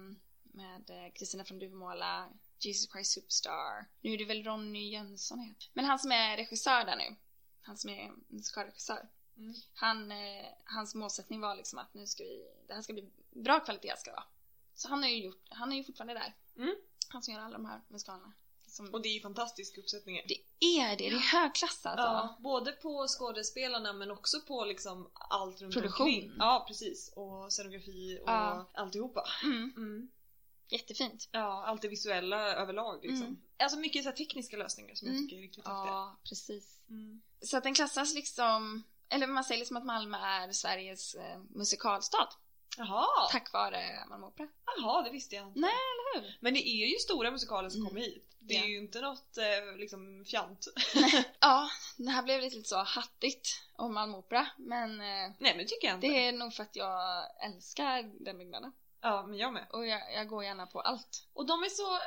C: med eh, Kristina från Duvemåla, Jesus Christ Superstar. Nu är det väl Ronny Jönsson heter. Men han som är regissör där nu. Han som är musikalregissör.
B: Mm.
C: Han, eh, hans målsättning var liksom att nu ska vi, det här ska bli bra kvalitet ska det vara. Så han, har ju gjort, han är ju fortfarande där.
B: Mm.
C: Han som gör alla de här musikalerna. Som,
B: Och det är ju fantastisk uppsättning.
C: det är det, det är högklass alltså.
B: Ja, både på skådespelarna men också på liksom allt runt
C: Produktion.
B: omkring. Ja, precis. Och scenografi och
C: Ja.
B: alltihopa.
C: Mm, jättefint.
B: Ja, allt det visuella överlag liksom.
C: Mm.
B: Alltså mycket så här tekniska lösningar som
C: Mm.
B: jag tycker är riktigt häftiga.
C: Ja, precis.
B: Mm.
C: Så att den klassas liksom, eller man säger liksom att Malmö är Sveriges eh, musikalstad.
B: Jaha,
C: Tack vare Malmö Opera.
B: jaha, det visste jag inte.
C: Nej,
B: eller
C: hur?
B: Men det är ju stora musikaler som
C: Mm.
B: kommer hit. Det är
C: Ja.
B: ju inte något eh, liksom fjant. <laughs>
C: Ja, det här blev lite så hattigt om Malmö Opera. Men eh,
B: Nej men det tycker jag inte.
C: det är nog för att jag älskar den byggnaden.
B: Ja, men jag med.
C: Och jag, jag går gärna på allt.
B: Och de är så,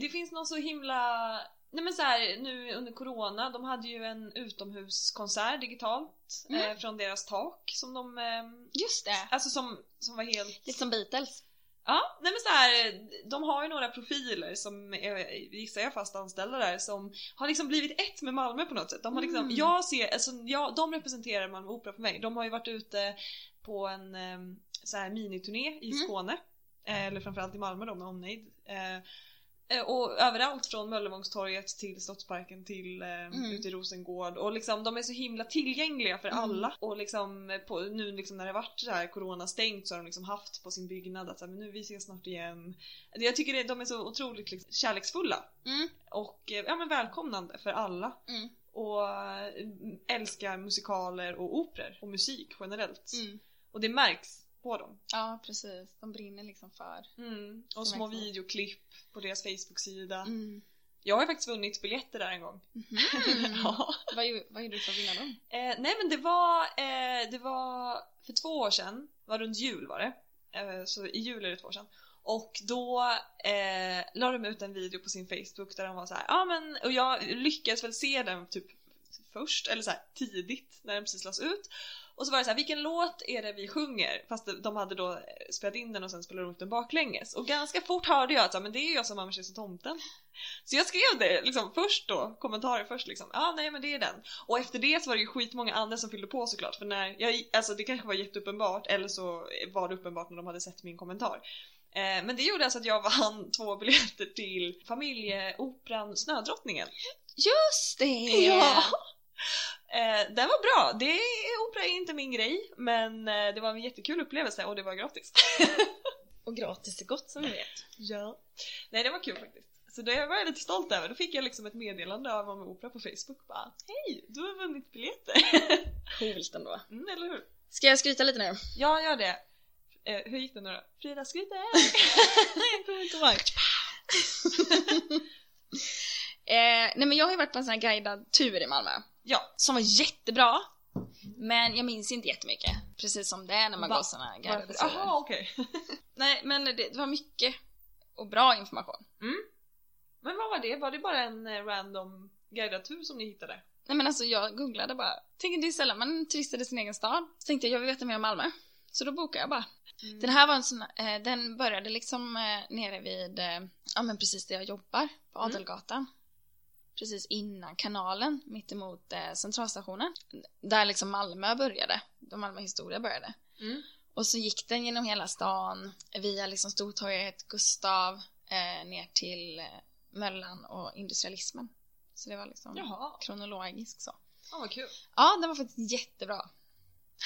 B: det finns någon så himla, nej men så här, nu under corona, de hade ju en utomhuskonsert digitalt
C: Mm.
B: eh, från deras tak som de, eh,
C: Just det!
B: alltså som, som var helt,
C: Lite som Beatles.
B: ja nej men så här, de har ju några profiler som är, gissar jag fast anställda där som har liksom blivit ett med Malmö på något sätt. De har liksom,
C: Mm.
B: jag ser, alltså jag, de representerar Malmö Opera för mig. De har ju varit ute på en eh, så här miniturné i
C: Mm.
B: Skåne. Eh, eller framförallt i Malmö då med omnejd. Eh, eh, och överallt från Möllevångstorget till Slottsparken till eh,
C: Mm.
B: ute i Rosengård och liksom de är så himla tillgängliga för
C: Mm.
B: alla och liksom eh, på, nu liksom när det varit så här corona stängt så har de liksom haft på sin byggnad att så här, men nu vi ses snart igen. Det- Jag tycker det, de är så otroligt liksom, kärleksfulla
C: Mm.
B: och eh, ja, men välkomnande för alla
C: Mm.
B: och eh, älskar musikaler och operor och musik generellt
C: Mm.
B: och det märks på dem.
C: Ja, precis. De brinner liksom för.
B: Mm.
C: Som
B: Och små
C: är kul.
B: videoklipp på deras Facebook-sida.
C: Mm.
B: Jag har ju faktiskt vunnit biljetter där en gång. <laughs>
C: <laughs> Mhm.
B: ja.
C: vad, gjo- vad gjorde du för att vinna dem?
B: Eh, nej men det var, eh, det var för två år sedan, var runt jul var det. Eh, så i jul är det två år sedan. Och då eh, la de ut en video på sin Facebook där de var så här, ja men, och jag lyckades väl se den typ först, eller så här tidigt när den precis lades ut. Och så var det så här, vilken låt är det vi sjunger? Fast de hade då eh, spelat in den och sen spelade de upp den baklänges. Och ganska fort hörde jag att så här, men det är ju jag som mamma som tomten. Så jag skrev det liksom först då, kommentarer först liksom. Ja, nej men det är den. Och efter det så var det ju skitmånga andra som fyllde på såklart för när jag, alltså det kanske var jätteuppenbart eller så var det uppenbart när de hade sett min kommentar. Eh, men det gjorde alltså att jag <laughs> vann två biljetter till familjeoperan Snödrottningen.
C: Just det!
B: Ja. Eh, den var bra, det är, opera är inte min grej men eh, det var en jättekul upplevelse och det var <laughs> gratis.
C: Och gratis är gott som vi vet.
B: ja. Nej det var kul faktiskt. Så det var jag lite stolt över, då fick jag liksom ett meddelande av Mamma Opera på Facebook bara Hej, du har vunnit biljetter!
C: Coolt ändå.
B: Mm, eller hur?
C: Ska jag skryta lite nu?
B: Ja, gör det. Eh, hur gick det nu då? <laughs> Fredagsgryta!
C: jag kommer inte ihåg. eh, nej men jag har ju varit på en sån här guidad tur i Malmö.
B: Ja.
C: Som var jättebra. Men jag minns inte jättemycket. Precis som det är när man
B: Va?
C: går såna här guidade
B: Varför?
C: turer.
B: Jaha, okej.
C: Nej men det, det var mycket och bra information.
B: Men vad var det? Var det bara en eh, random guidad tur som ni hittade?
C: Nej men alltså jag googlade bara. Tänk det är sällan man turistar i sin egen stad. Så tänkte jag jag vill veta mer om Malmö. Så då bokade jag bara.
B: Mm.
C: Den här var en sån, eh, den började liksom eh, nere vid, eh, ja men precis där jag jobbar, på
B: Mm.
C: Adelgatan. Precis innan kanalen, mittemot eh, centralstationen. Där liksom Malmö började, då Malmö historia började.
B: Mm.
C: Och så gick den genom hela stan, via liksom Stortorget, Gustav, eh, ner till eh, Möllan och industrialismen. Så det var liksom
B: Jaha,
C: kronologiskt så.
B: ja, vad kul.
C: Ja, den var faktiskt jättebra.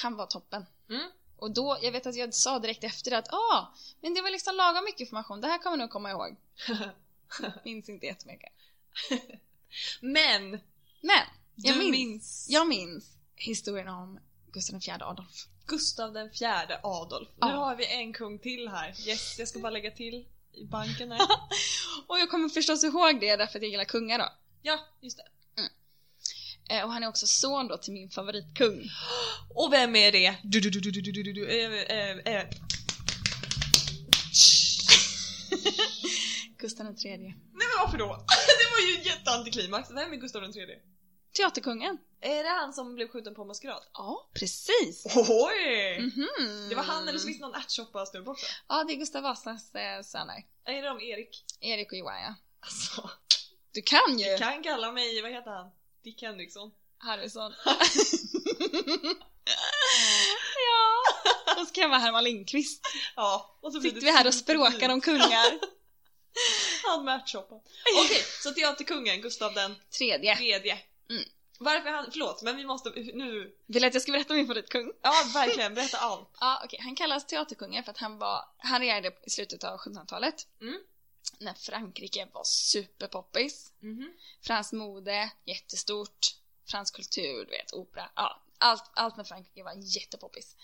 C: Han var toppen.
B: Mm.
C: Och då, jag vet att jag sa direkt efter det att ah, men det var liksom lagom mycket information, det här kommer jag nog komma
B: <laughs>
C: ihåg. Minns inte jättemycket.
B: Men!
C: Men, jag
B: du
C: minns.
B: minns
C: jag minns historien om Gustav IV Adolf.
B: Gustav den fjärde Adolf. Nu
C: Ja.
B: har vi en kung till här. Yes, jag ska bara lägga till i banken <laughs> här.
C: Och jag kommer förstås ihåg det därför att jag gillar kungar då.
B: ja, just det.
C: Eh, och han är också son då till min
B: <laughs>
C: favoritkung.
B: Och vem är det? Du, du, du, du, du, du, du, du, eh, eh, eh.
C: Gustav III.
B: Nej men varför då? <laughs> det var ju jätteantiklimax. Vem är Gustav den tredje?
C: Teaterkungen.
B: Är det han som blev skjuten på maskerad?
C: Ja, precis.
B: Oj!
C: Mhm.
B: Det var han eller så finns det någon ärtsoppa-snubbe också.
C: Ja, det är Gustav Vasas eh, söner.
B: Är det de Erik?
C: Erik och Johan ja.
B: Alltså,
C: Du kan ju!
B: du kan kalla mig, vad heter han? Dick Henriksson.
C: <laughs> Harrison. ja, och så kan jag vara Herman Lindqvist.
B: Ja, och så blir
C: Sitter
B: det
C: vi här och språkar om kungar. <laughs>
B: Han med ärtsoppan. Okej, så teaterkungen Gustav den
C: Tredje.
B: tredje.
C: Mm.
B: Varför han, förlåt men vi måste, nu,
C: Vill du att jag ska berätta om min favoritkung?
B: ja verkligen berätta allt.
C: <laughs> Ja, okej. Han kallas teaterkungen för att han var, han regerade i slutet av 1700-talet.
B: Mm.
C: När Frankrike var superpoppis.
B: Mhm.
C: Franskt mode, jättestort. Fransk kultur, du vet, opera. Ja, allt, allt med Frankrike var jättepoppis.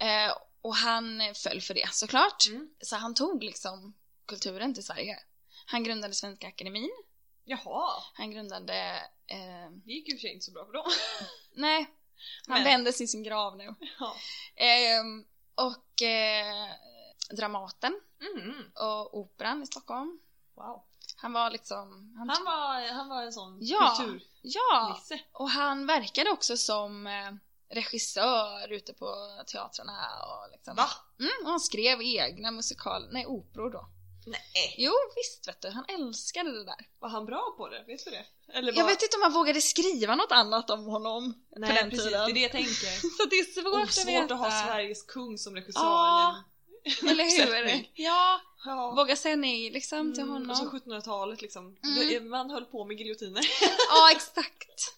C: Eh, och han föll för det såklart.
B: Mm.
C: Så han tog liksom kulturen till Sverige. Han grundade Svenska Akademin.
B: Jaha,
C: Han grundade... Eh,
B: det gick ju i och för sig inte så bra för dem.
C: nej, han
B: Men-
C: vände sig i sin grav nu.
B: Ja.
C: Eh, och eh, Dramaten Mm.
B: Mhm.
C: och Operan i Stockholm.
B: Wow.
C: Han var liksom... Han,
B: Han var, han var en sån
C: Ja.
B: kulturnisse.
C: ja! Och han verkade också som eh, regissör ute på teatrarna och liksom...
B: Va?
C: Mm, och han skrev egna musikaler, nej operor då.
B: Nej.
C: Jo visst vet du, han älskade det där.
B: Var han bra på det? Vet du det? Eller
C: Jag vet inte om han vågade skriva något annat om honom <laughs>
B: Nej,
C: på den
B: precis,
C: tiden.
B: det är det jag tänker.
C: Så det är svårt,
B: Oh,
C: att
B: svårt
C: veta.
B: att ha Sveriges kung som regissör
C: Ja,
B: i en
C: Eller hur?
B: uppsättning.
C: Ja,
B: Ja.
C: våga säga nej liksom till
B: Mm,
C: honom.
B: Och så 1700-talet liksom.
C: Mm.
B: Det är- Man höll på
C: <laughs>
B: med giljotiner.
C: Ja, exakt.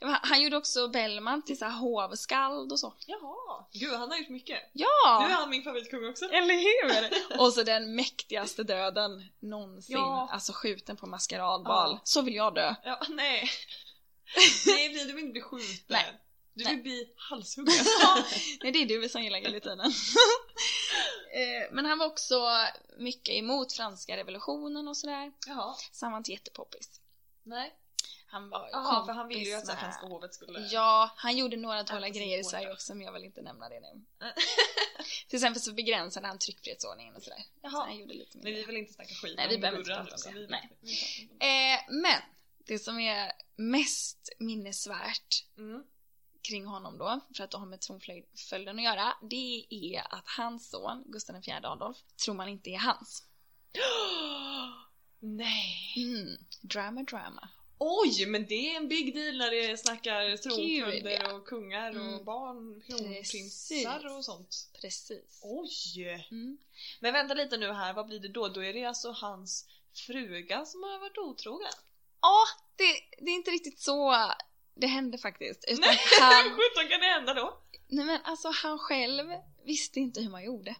C: Han- Han gjorde också Bellman till så här hovskald och så.
B: Jaha! Gud, han har gjort mycket. Nu är
C: Ja!
B: han min favoritkung också.
C: Eller hur? <laughs> och så den mäktigaste döden någonsin.
B: Ja.
C: Alltså skjuten på maskeradbal.
B: Ja.
C: Så vill jag dö.
B: Ja,
C: <laughs>
B: nej. nej, Bri, du vill inte bli skjuten.
C: Nej.
B: Du
C: Nej. <laughs>
B: vill bli halshuggen.
C: Nej, det är du som gillar giljotinen. <laughs> Eh, Men han var också mycket emot franska revolutionen och sådär.
B: Jaha,
C: Så han var inte jättepoppis.
B: nej.
C: Han var
B: Jaha, för han ville ju att så
C: med-
B: här, franska hovet skulle...
C: Ja, han gjorde några dåliga
B: Äta sin
C: grejer i
B: tårta.
C: Sverige också men jag vill inte nämna det
B: <laughs>
C: nu.
B: Nej.
C: Till exempel så begränsade han tryckfrihetsordningen och sådär.
B: Jaha.
C: Så han gjorde lite
B: Men vi
C: mindre.
B: vill inte snacka skit
C: Nej, vi
B: om
C: behöver inte
B: Gurra
C: prata om
B: nu,
C: det.
B: så vi-
C: Nej.
B: vi pratar inte
C: Eh,
B: om
C: men det som är mest minnesvärt
B: det. Mm.
C: kring honom då, för att det har med tronföljden att göra, det är att hans son, Gustav IV Adolf, tror man inte är hans.
B: Mm. <gasps> Nej!
C: Mm. Drama, drama.
B: Oj, men det är en big deal när det snackar
C: Gud,
B: tronföljder och kungar och
C: Mm.
B: barn, kronprinsar
C: Precis.
B: och sånt.
C: Precis.
B: Oj!
C: Mm.
B: Men vänta lite nu här, vad blir det då? Då är det alltså hans fruga som har varit otrogen?
C: Ja, det, det är inte riktigt så det hände faktiskt. Utan
B: Nej. Hur
C: han,
B: sjutton kan det
C: <gasps>
B: hända då?
C: nej men alltså han själv visste inte hur man gjorde.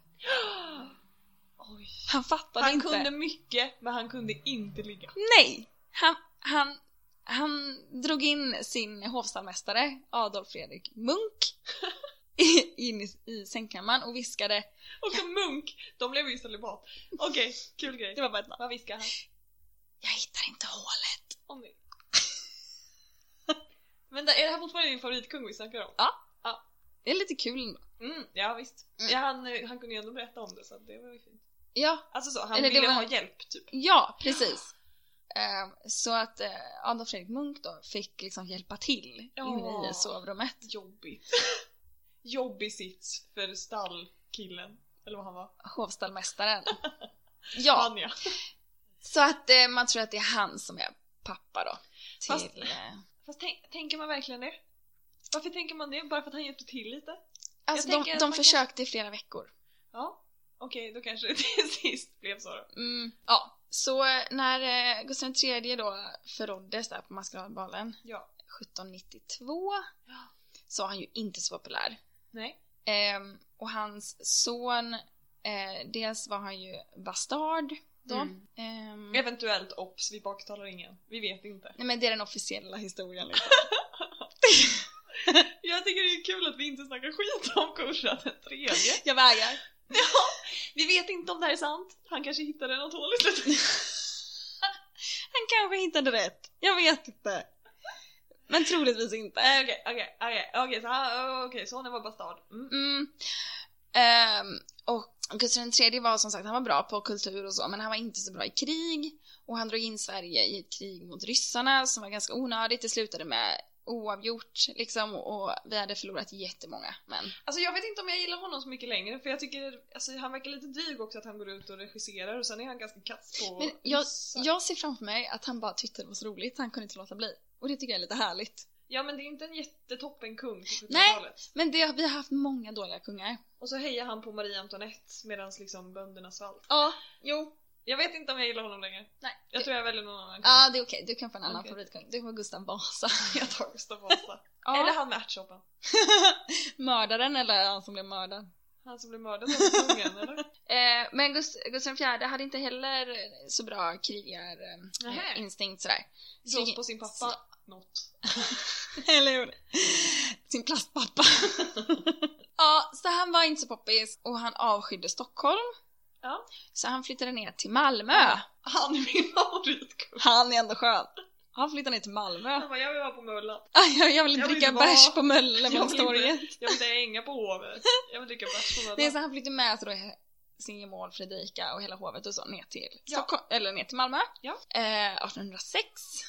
B: Oj.
C: Han fattade
B: Han
C: inte.
B: kunde mycket, men han kunde inte ligga.
C: Nej! Han, han, han drog in sin hovstallmästare Adolf Fredrik Munk
B: <laughs>
C: i- in i, i sängkammaren och viskade
B: Och som munk, de blev ju celibat. Okej, kul grej.
C: Det var bara ett namn.
B: Vad viskar han?
C: Jag hittar inte hålet.
B: Om det. <laughs> Vänta, är det här fortfarande din favoritkung vi snackar om?
C: Det är lite kul ändå.
B: Mm, ja visst.
C: Mm.
B: Ja, han, eh, han kunde ju ändå berätta om det så att det var ju fint.
C: Ja,
B: Alltså så, han
C: Eller det
B: ville
C: var-
B: ha hjälp typ.
C: ja precis. Eh, Så att eh, Adolf Fredrik Munk då fick liksom hjälpa till
B: Ja.
C: inne i sovrummet.
B: Jobbigt. <laughs> Jobbig sits för stallkillen. Eller vad han var. <laughs>
C: Hovstallmästaren. Ja,
B: Han ja.
C: så att eh, man tror att det är han som är pappa då.
B: Fast-
C: Till, eh,
B: Fast tänk, tänker man verkligen det? Varför tänker man det? Bara för att han hjälpte till lite?
C: alltså
B: tänker
C: de,
B: att
C: de
B: man
C: försökte i flera veckor.
B: Ja. Okej, då kanske det till <laughs> sist blev så då.
C: Mm, ja, så eh, när eh, Gustav III då förråddes där på Maskeradbalen
B: Ja.
C: 1792
B: Ja.
C: så var han ju inte så populär.
B: Nej.
C: Ehm, och hans son, eh, dels var han ju bastard då.
B: Mm.
C: Ehm,
B: Eventuellt obs, vi baktalar ingen. Vi vet inte. <laughs>
C: nej men det är den officiella historien liksom.
B: Jag tycker det är kul att vi inte snackar skit om Korsad den tredje.
C: Jag vägrar.
B: <laughs>
C: <laughs>
B: Vi vet inte om det här är sant. Han kanske hittade något hål i slutet. <laughs>
C: Han kanske hittade rätt, jag vet inte. Men troligtvis inte.
B: Nej Eh, okej, okej, okej, okej, så han- eh, okej, sonen var bastard. Mm.
C: Mm. Ehm, och Gustav III var som sagt, han var bra på kultur och så, men han var inte så bra i krig. Och han drog in Sverige i ett krig mot ryssarna som var ganska onödigt. Det slutade med oavgjort liksom och vi hade förlorat jättemånga män.
B: Alltså jag vet inte om jag gillar honom så mycket längre för jag tycker, alltså han verkar lite dryg också att han går ut och regisserar och sen är han ganska kass på
C: Men jag,
B: Så-
C: jag ser framför mig att han bara tyckte det var så roligt, han kunde inte låta bli. Och det tycker jag är lite härligt.
B: Ja men det är inte en jättetoppen kung på
C: Nej.
B: 70-talet.
C: Men det, vi har haft många dåliga kungar.
B: Och så hejar han på Marie Antoinette medan liksom bönderna svalt.
C: Ja, jo.
B: Jag vet inte om jag gillar honom längre.
C: Nej.
B: Jag tror jag väljer någon annan kung.
C: Ja, det är okej. Du kan få en annan
B: Okej.
C: favoritkung. Du får Gustav Vasa.
B: <laughs> Jag tar Gustav Vasa.
C: <laughs> Ja.
B: Eller han med ärtsoppan.
C: Mördaren eller han som blev mördad?
B: Han som blev mördad av kungen eller?
C: <laughs> Eh, men Gust- Gustav IV hade inte heller så bra
B: Nähä.
C: krigarinstinkt sådär. Mm.
B: Slåss på sin pappa. Något.
C: <laughs> Eller hur? Sin plastpappa. <laughs> ja, så han var inte så poppis och han avskydde Stockholm.
B: Ja.
C: Så han flyttade ner till Malmö.
B: Ja. Han är min favoritkung.
C: Han är ändå skön. Han flyttade ner till Malmö.
B: Han bara, jag vill vara på Möllan.
C: <laughs> Aj, jag, jag vill
B: Jag vill
C: dricka
B: inte vara-
C: bärs på
B: <laughs> Jag
C: Möllemanstorget.
B: vill inte- Jag vill inte hänga på hovet. Jag vill dricka bärs på
C: Nej,
B: hovet.
C: så han flyttade med sig då sin gemål Fredrika och hela hovet och så ner till,
B: Ja.
C: Stockholm, eller ner till Malmö.
B: Ja.
C: Eh, 1806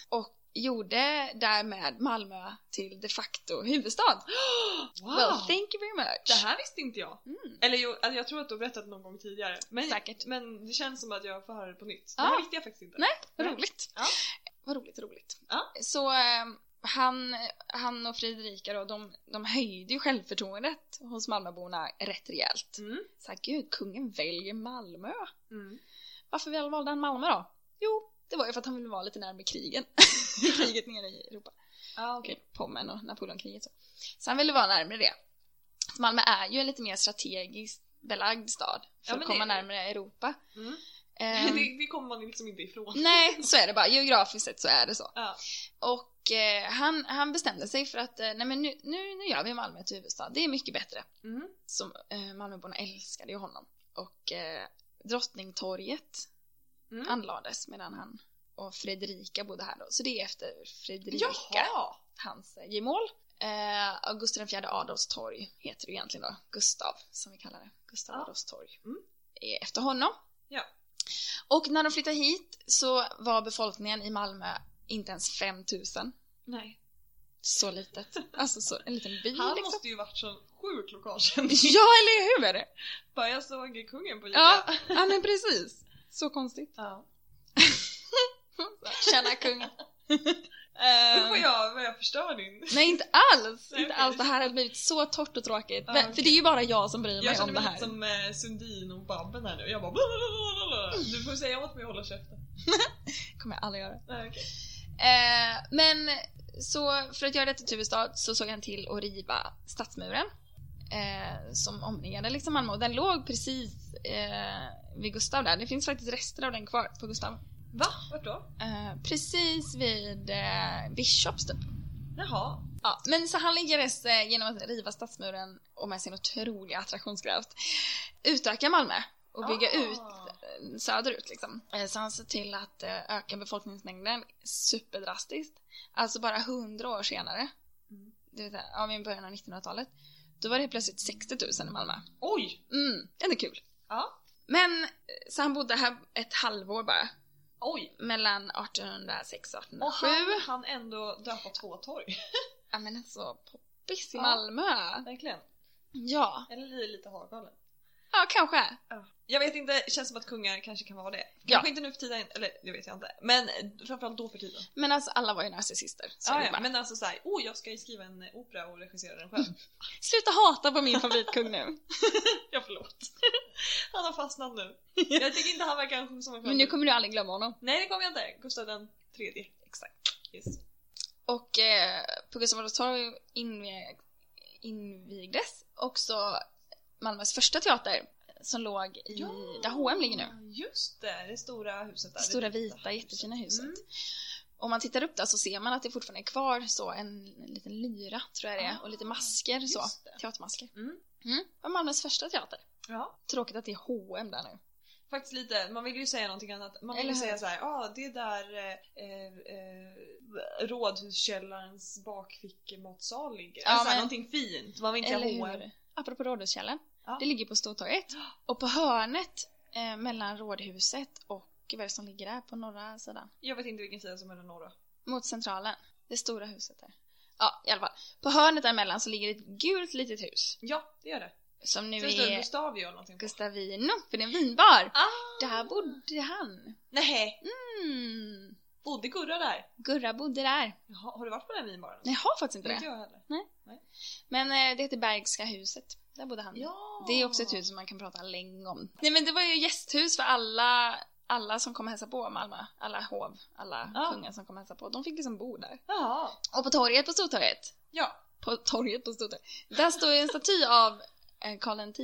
C: och gjorde därmed Malmö till de facto huvudstad.
B: Wow!
C: Well, thank you very much.
B: Ah. Det här visste inte jag.
C: Mm.
B: Eller jo, alltså, jag tror att du har berättat någon gång tidigare. Men,
C: Säkert. Ah.
B: men det känns som att jag får höra det på nytt.
C: Ja.
B: Det här visste jag faktiskt inte.
C: Nej. Vad roligt.
B: Mm. Ja.
C: Vad roligt, roligt.
B: Ja.
C: Så eh, han, han och Fredrika då, de, de höjde ju självförtroendet hos Malmöborna rätt rejält.
B: Mm.
C: Så här, gud, kungen väljer Malmö.
B: Mm.
C: Varför väl valde han Malmö då? Jo, det var ju för att han ville vara lite närmare krigen. <laughs> kriget nere i Europa.
B: Ah,
C: Okay.
B: okej.
C: Pommen och Napoleonkriget. Så. så han ville vara närmare det. Så Malmö är ju en lite mer strategiskt belagd stad för
B: Ja,
C: att
B: men
C: komma
B: det är det.
C: närmare Europa.
B: Mm.
C: Ehm,
B: <laughs> <laughs> Det, det kommer man liksom inte ifrån.
C: nej, så är det bara. Geografiskt sett så är det så.
B: Ja.
C: Och eh, han, han bestämde sig för att eh, nej, men nu, nu, nu gör vi Malmö till huvudstad. Det är mycket bättre.
B: Mm.
C: Som eh, Malmöborna älskade ju honom. och eh, Drottningtorget
B: Mm.
C: anlades medan han och Fredrika bodde här då. Så det är efter Fredrika,
B: Jaha!
C: hans eh, gemål. Eh, och Gustav IV Adolfs torg heter det egentligen då, Gustav som vi kallar det. Gustav
B: Ja.
C: Adolfs torg.
B: Mm.
C: är Efter honom.
B: Ja.
C: Och när de flyttade hit så var befolkningen i Malmö inte ens 5000.
B: Nej.
C: Så litet. Alltså så, en liten by
B: Han
C: liksom.
B: måste ju varit som sjukt
C: <laughs>
B: lokalkänd.
C: Ja, eller hur?
B: <laughs> Bara jag såg kungen på lite.
C: Ja, ja men precis. Så konstigt.
B: Ja.
C: Tjena kung.
B: Nu
C: Eh,
B: får jag, vad jag förstör din.
C: Nej inte alls!
B: Nej,
C: Inte
B: okej.
C: alls, det här har blivit så torrt och tråkigt.
B: Ja,
C: Men, För
B: okej.
C: det är ju bara jag som bryr
B: Jag
C: mig
B: känner
C: om det
B: mig
C: här.
B: lite som eh, Sundin och Babben här nu. Jag bara blablabla. Du får säga åt mig att hålla käften.
C: kommer jag aldrig göra.
B: Nej, okej.
C: Eh, men så för att göra det till huvudstad så såg han till att riva stadsmuren. Eh, som omringade liksom Malmö och den låg precis eh, vid Gustav där. Det finns faktiskt rester av den kvar på Gustav.
B: Va? Vart då?
C: Eh, precis vid eh, Bishops typ.
B: Jaha.
C: Ja, men så han lyckades eh, genom att riva stadsmuren och med sin otroliga attraktionskraft utöka Malmö och bygga
B: Ah.
C: ut eh, söderut liksom. Eh, Så han såg till att eh, öka befolkningsmängden superdrastiskt. Alltså bara 100 år senare,
B: Mm.
C: det vill säga ja, men i början av 1900-talet, då var det helt plötsligt 60 000 i Malmö.
B: Oj!
C: Mm, ändå kul.
B: Ja.
C: Men eh, så han bodde här ett halvår bara,
B: Oj!
C: mellan 1806 och 1807.
B: Och han han ändå döpa två torg.
C: Ja men alltså poppis i
B: Ja.
C: Malmö.
B: Verkligen.
C: Ja.
B: Eller lite hagalen.
C: Ja, kanske.
B: Jag vet inte, känns som att kungar kanske kan vara det.
C: Ja.
B: Kanske inte nu för tiden, eller det vet jag inte. Men framförallt då för tiden.
C: Men alltså alla var ju narcissister. Så
B: Ja,
C: det är
B: ja,
C: bara,
B: men alltså såhär, oh jag ska ju skriva en opera och regissera
C: <laughs>
B: den själv.
C: Sluta hata på min favoritkung
B: <laughs>
C: nu.
B: ja förlåt. <laughs> Han har fastnat nu. Jag tycker inte han verkar som
C: men
B: en
C: nu
B: självbild.
C: kommer du aldrig glömma honom.
B: Nej det kommer jag inte. Gustav den tredje. Exakt. Yes.
C: Och eh, på Gustav Adolfs torg invi- invigdes också Malmös första teater som låg i där H&M ligger nu.
B: Just det, det stora huset där.
C: Det stora
B: Det
C: vita jättefina huset.
B: Mm.
C: Om man tittar upp där så ser man att det fortfarande är kvar så en liten lyra tror jag det är och lite
B: Ah,
C: masker så.
B: just det.
C: Teatermasker.
B: Mm.
C: Mm. Var Malmös första teater.
B: Ja.
C: Tråkigt att det är H&M där nu.
B: Faktiskt lite, man vill ju säga någonting annat. Man vill
C: Eller
B: ju
C: hur?
B: säga såhär, ja ah, det är där eh, eh, rådhuskällarens bakfickematsal ligger.
C: Ja,
B: alltså,
C: men-
B: någonting fint. Man vill inte
C: Eller
B: säga H&M.
C: hur? Apropå Rådhuskällan.
B: Ja.
C: Det ligger på Stortorget. Och på hörnet eh, mellan Rådhuset och vad är det som ligger där på norra sidan?
B: Jag vet inte vilken sida som är den norra.
C: Mot Centralen. Det stora huset där. Ja, i alla fall. På hörnet däremellan så ligger ett gult litet hus.
B: Ja, det gör det.
C: Som nu
B: Nu är...
C: är
B: Gustavio eller någonting. på.
C: Gustavino, för det är en vinbar.
B: Ah!
C: Där bodde han.
B: Nej,
C: Mm.
B: bodde Gurra där?
C: Gurra bodde där.
B: Jaha, har du varit på den vinbaren?
C: Jag har faktiskt inte
B: inte
C: det.
B: jag heller.
C: Men eh, det heter Bergska huset. Där bodde han.
B: Ja!
C: Det är också ett hus som man kan prata länge om. Nej men det var ju gästhus för alla, alla som kom och hälsade på Malmö. Alla hov, alla
B: Ja.
C: kungar som kom och hälsade på. De fick liksom bo där.
B: Jaha.
C: Och på torget på Stortorget,
B: Ja.
C: på torget på Stortorget, där står ju en staty av eh, Karl X.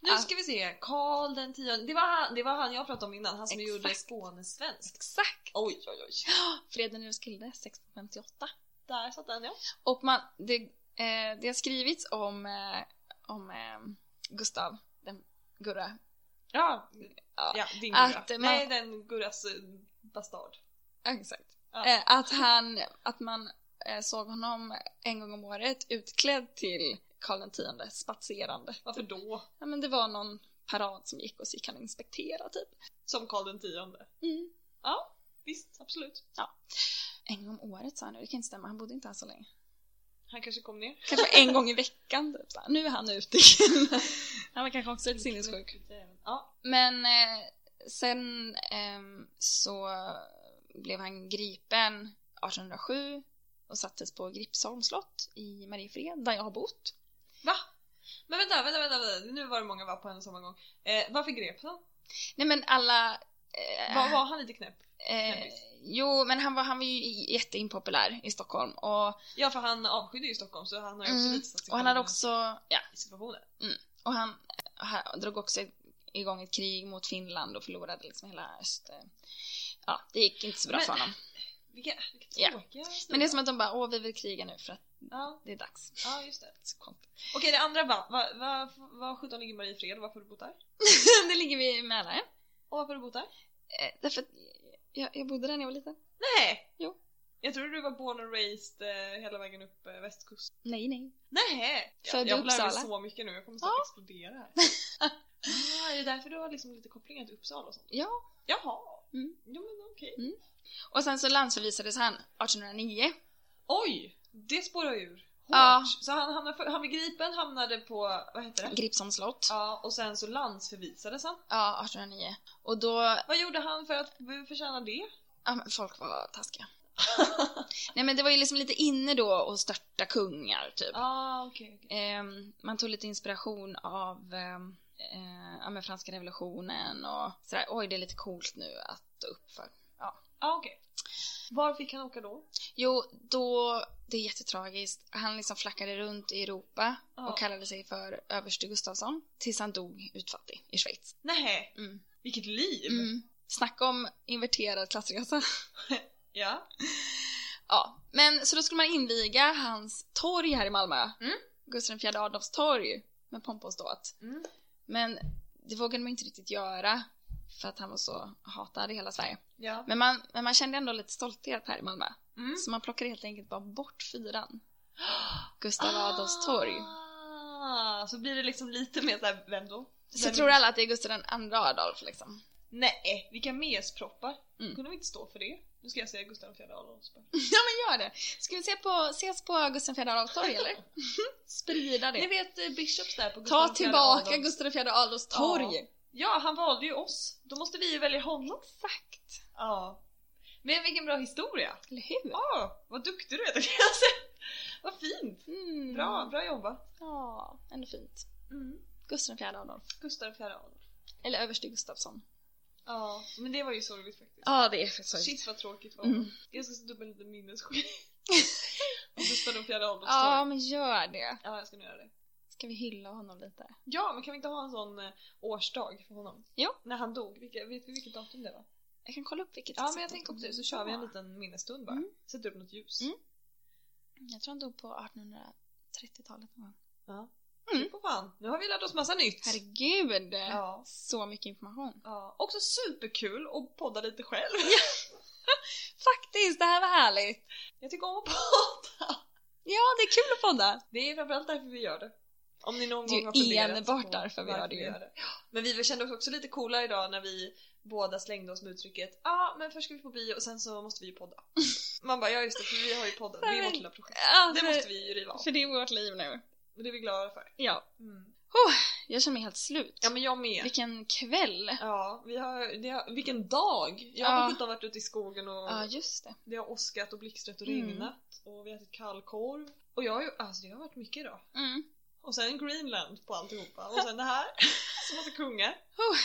B: Nu
C: Ah.
B: ska vi se, Karl den tionde. Det var han, det var han jag pratade om innan, han som
C: Exakt.
B: gjorde Skåne svenskt.
C: Exakt!
B: Oj, oj, oj.
C: Freden i Roskilde 1658.
B: Där satt den ja.
C: Och man, det, eh, det har skrivits om, eh, om eh, Gustav, den Gurra.
B: Ja,
C: Ja.
B: ja din
C: Att eh,
B: Gurra.
C: man-
B: Nej, den Gurras eh, bastard.
C: Ja, exakt.
B: Ja.
C: Eh, att, han, att man eh, såg honom en gång om året utklädd till Karl X spatserande.
B: Varför då?
C: Ja, men det var någon parad som gick och så gick han och inspekterade typ.
B: Som Karl den tionde.
C: Mm.
B: Visst, absolut.
C: En gång om året sa han nu, det kan inte stämma, han bodde inte här så länge.
B: Han kanske kom ner.
C: Kanske en gång i veckan typ. Så här, Nu är han ute <laughs> igen. han var kanske också lite sinnessjuk.
B: Ja.
C: Men eh, sen ehm, så blev han gripen 1807 och sattes på Gripsholms slott i Mariefred där jag har bott.
B: Va? Men vänta, vänta, vänta, vänta. nu var det många va på en och samma gång. Eh, varför greps han?
C: Nej men alla... Eh,
B: Var, var han lite knäpp?
C: eh, jo men han var, han var ju i- jätteimpopulär i Stockholm och,
B: Ja, för han avskydde ju Stockholm så han har ju också
C: Mm.
B: lite satt sig
C: och han
B: själv
C: hade också... Ja,
B: i situationen.
C: och han, han drog också igång ett krig mot Finland och förlorade liksom hela öst... eh, Ja, det gick inte så bra
B: Men-
C: för honom.
B: Vilka, vilka
C: Ja.
B: tråkiga
C: Men det är
B: stora.
C: som att de bara, åh vi vill kriga nu för att
B: Ja,
C: det är dags. <laughs>
B: ja just det.
C: Så konstigt.
B: Okej, det andra bandet. Vad va, va, va, sjutton ligger Mariefred och varför har du bott där?
C: nu ligger vi i Mälaren.
B: Och varför har du bott där?
C: Eh, därför att jag, jag bodde där när jag var liten.
B: Nej!
C: Jo.
B: Jag trodde du var born and raised eh, hela vägen upp eh, västkusten.
C: Nej, nej.
B: Nej!
C: Född
B: Jag,
C: i
B: jag lär mig
C: Uppsala.
B: så mycket nu, jag kommer snart explodera
C: <laughs>
B: här. ah, är det därför du har liksom lite kopplingar till Uppsala och sånt?
C: Ja.
B: Jaha!
C: Mm.
B: Jo men okej.
C: Mm. Och sen så landsförvisades han 1809.
B: Oj! Det spårar ju ur. Hårt.
C: Ja.
B: Så han, hamnade för, han blev gripen, hamnade på, vad heter det?
C: Gripsholms slott. Ja.
B: Ja, och sen så landsförvisades han.
C: 1809. Och då,
B: Vad gjorde han för att förtjäna det?
C: ja men folk var <laughs> taskiga. nej men det var ju liksom lite inne då att störta kungar typ.
B: Ah, okej. okej.
C: Ehm, man tog lite inspiration av ehm, eh, ja, men franska revolutionen och sådär, oj det är lite coolt nu att stå upp för.
B: Ah, okej. Var fick han åka då?
C: Jo, då, det är jättetragiskt. Han liksom flackade runt i Europa
B: Ja.
C: och kallade sig för överste Gustafsson tills han dog utfattig i Schweiz.
B: Nej,
C: Mm.
B: vilket liv!
C: Mm. Snacka om inverterad klassresa.
B: Ja.
C: Ja, men så då skulle man inviga hans torg här i Malmö.
B: Mm.
C: Gustav IV Adolfs torg med pompa och ståt.
B: Mm.
C: Men det vågade man inte riktigt göra för att han var så hatad i hela Sverige.
B: Ja.
C: Men man, men man kände ändå lite stolthet här i Malmö.
B: Mm.
C: Så man plockade helt enkelt bara bort <gasps> fyran. Gustav Adolfs torg.
B: Ah, så blir det liksom lite mer såhär, vem då?
C: Så
B: Vem-
C: tror alla att det är Gustav II Adolf liksom.
B: Nej, vilka mesproppar!
C: Mm.
B: Kunde vi inte stå för det? Nu ska jag säga Gustav IV Adolfs.
C: Ja men gör det! Ska vi se på, ses på Gustav IV Adolfs torg eller? <laughs> Sprida
B: Ni
C: det.
B: vet eh, Bishops där på
C: Ta
B: Gustav IV
C: tillbaka
B: Adolfs.
C: Gustav IV Adolfs torg!
B: Ja. Ja, han valde ju oss. Då måste vi ju välja honom.
C: Exakt!
B: Ja. Men vilken bra historia!
C: Eller hur?
B: Ja, vad duktig du är kan jag <laughs> säga. Vad fint!
C: Mm.
B: Bra, bra jobbat.
C: Ja, ändå fint.
B: Mm.
C: Gustav IV Adolf.
B: Gustav IV Adolf.
C: Eller överste Gustafsson.
B: Ja, men det var ju sorgligt faktiskt.
C: Ja, det är faktiskt
B: Shit vad tråkigt var
C: mm.
B: Jag ska sätta upp en
C: <laughs>
B: liten minnesskylt. Och Gustav IV Adolfs
C: Ja,
B: ja.
C: men gör det.
B: ja, jag ska nu göra det.
C: Ska vi hylla honom lite?
B: Ja, men kan vi inte ha en sån eh, årsdag för honom?
C: Jo.
B: När han dog. Vilka, vet vi vilket datum det var?
C: Jag kan kolla upp vilket
B: Ja,
C: exakt
B: men jag tänker också det. Så
C: datum
B: kör vi en
C: var.
B: liten minnesstund bara.
C: Mm.
B: Sätter upp något ljus.
C: Mm. Jag tror han dog på 1830-talet någon gång.
B: Ja.
C: Mm.
B: På fan. Nu har vi lärt oss massa nytt.
C: Herregud!
B: Ja.
C: Så mycket information.
B: ja. Också superkul att podda lite själv.
C: Faktiskt, det här var härligt!
B: Jag tycker om att podda.
C: Ja, det är kul att podda!
B: Det är framförallt därför vi gör det. Om ni någon
C: Det är
B: gång
C: ju
B: har funderat
C: enbart
B: på
C: därför vi
B: varför
C: gör det ju.
B: Ja. Men vi kände oss också lite coola idag när vi båda slängde oss med uttrycket ja ah, men först ska vi på bio och sen så måste vi
C: <laughs>
B: ju podda. Man bara ja just det för vi har ju podden, det är vårt lilla projekt.
C: Ja,
B: Det
C: för-
B: måste vi ju
C: För
B: riva av.
C: Alltså, det är vårt liv nu.
B: Och det är vi glada för.
C: Ja.
B: Mm.
C: Jag känner mig helt slut.
B: Ja men jag med.
C: Vilken kväll!
B: Ja, vi har, det har, vilken dag! Jag har
C: Ja.
B: sjutton varit ute i skogen och
C: Ja, just det.
B: det har åskat och blixtrat och
C: Mm.
B: regnat och vi har ätit kallkorv. Och jag har ju, alltså det har varit mycket idag.
C: Mm.
B: Och sen Greenland på alltihopa. Och sen det <laughs> här. Så massa kungar.
C: Huh.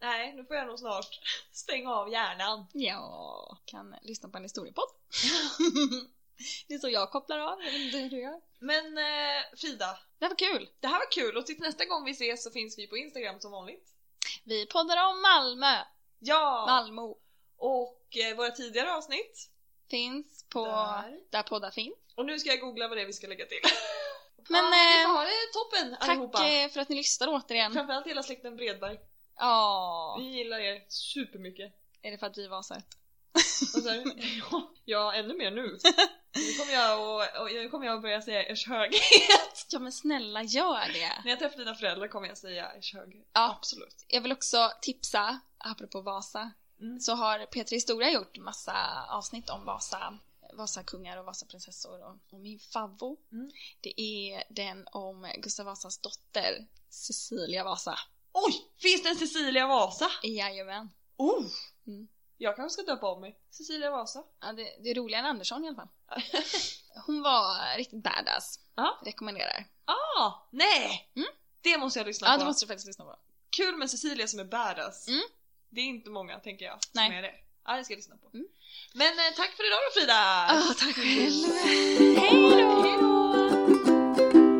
B: Nej, nu får jag nog snart stänga av hjärnan.
C: Ja, kan lyssna på en <laughs> historiepodd. det är så jag kopplar av, jag vet inte hur du gör.
B: Men eh, Frida,
C: Det här var kul!
B: det här var kul och tills nästa gång vi ses så finns vi på Instagram som vanligt.
C: Vi poddar om Malmö.
B: Ja!
C: Malmö
B: Och eh, våra tidigare avsnitt.
C: finns på där,
B: Där.
C: poddar finns.
B: Och nu ska jag googla vad det är vi ska lägga <laughs> till.
C: Men,
B: ja, ni får
C: eh,
B: ha det toppen allihopa.
C: Tack eh, för att ni lyssnar återigen.
B: Framförallt hela släkten Bredberg.
C: Ja,
B: Vi gillar er <laughs> supermycket.
C: är det för att vi var så här?
B: Och så, ja, ja, ännu mer <laughs> nu. Nu kommer jag, och, och, nu kommer jag att börja säga ers hög.
C: Ja men snälla gör det!
B: När jag träffar dina föräldrar kommer jag säga ers hög.
C: Ja.
B: Absolut.
C: Jag vill också tipsa, apropå Vasa,
B: Mm.
C: så har Petra Historia gjort massa avsnitt om Vasa, Vasakungar och Vasaprinsessor och, och min favvo,
B: Mm.
C: det är den om Gustav Vasas dotter Cecilia Vasa.
B: Oj! Finns det en Cecilia Vasa?
C: Jajamän.
B: Oh!
C: Mm.
B: Jag kanske ska döpa om mig. Cecilia Vasa.
C: Ja, det, det är roligare än Andersson i alla fall. <laughs> Hon var riktigt badass.
B: Ja.
C: Rekommenderar.
B: Ah! Nej!
C: Mm.
B: Det måste jag lyssna
C: Ja,
B: på.
C: det måste du faktiskt lyssna på.
B: Kul med Cecilia som är badass.
C: Mm.
B: Det är inte många, tänker jag,
C: Nej.
B: som är det. Ja, det ska jag lyssna på.
C: Mm.
B: Men eh, tack för idag då Frida! Mm.
C: Ah, tack själv. Hej <laughs> då!
B: Hej då!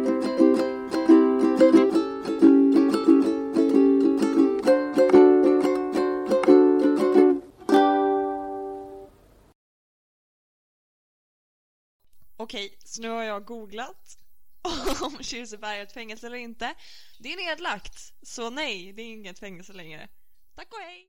B: Okej, så nu har jag googlat <laughs> om Kirseberg är ett fängelse eller inte. Det är nedlagt, så nej, det är inget fängelse längre. Tack och hej!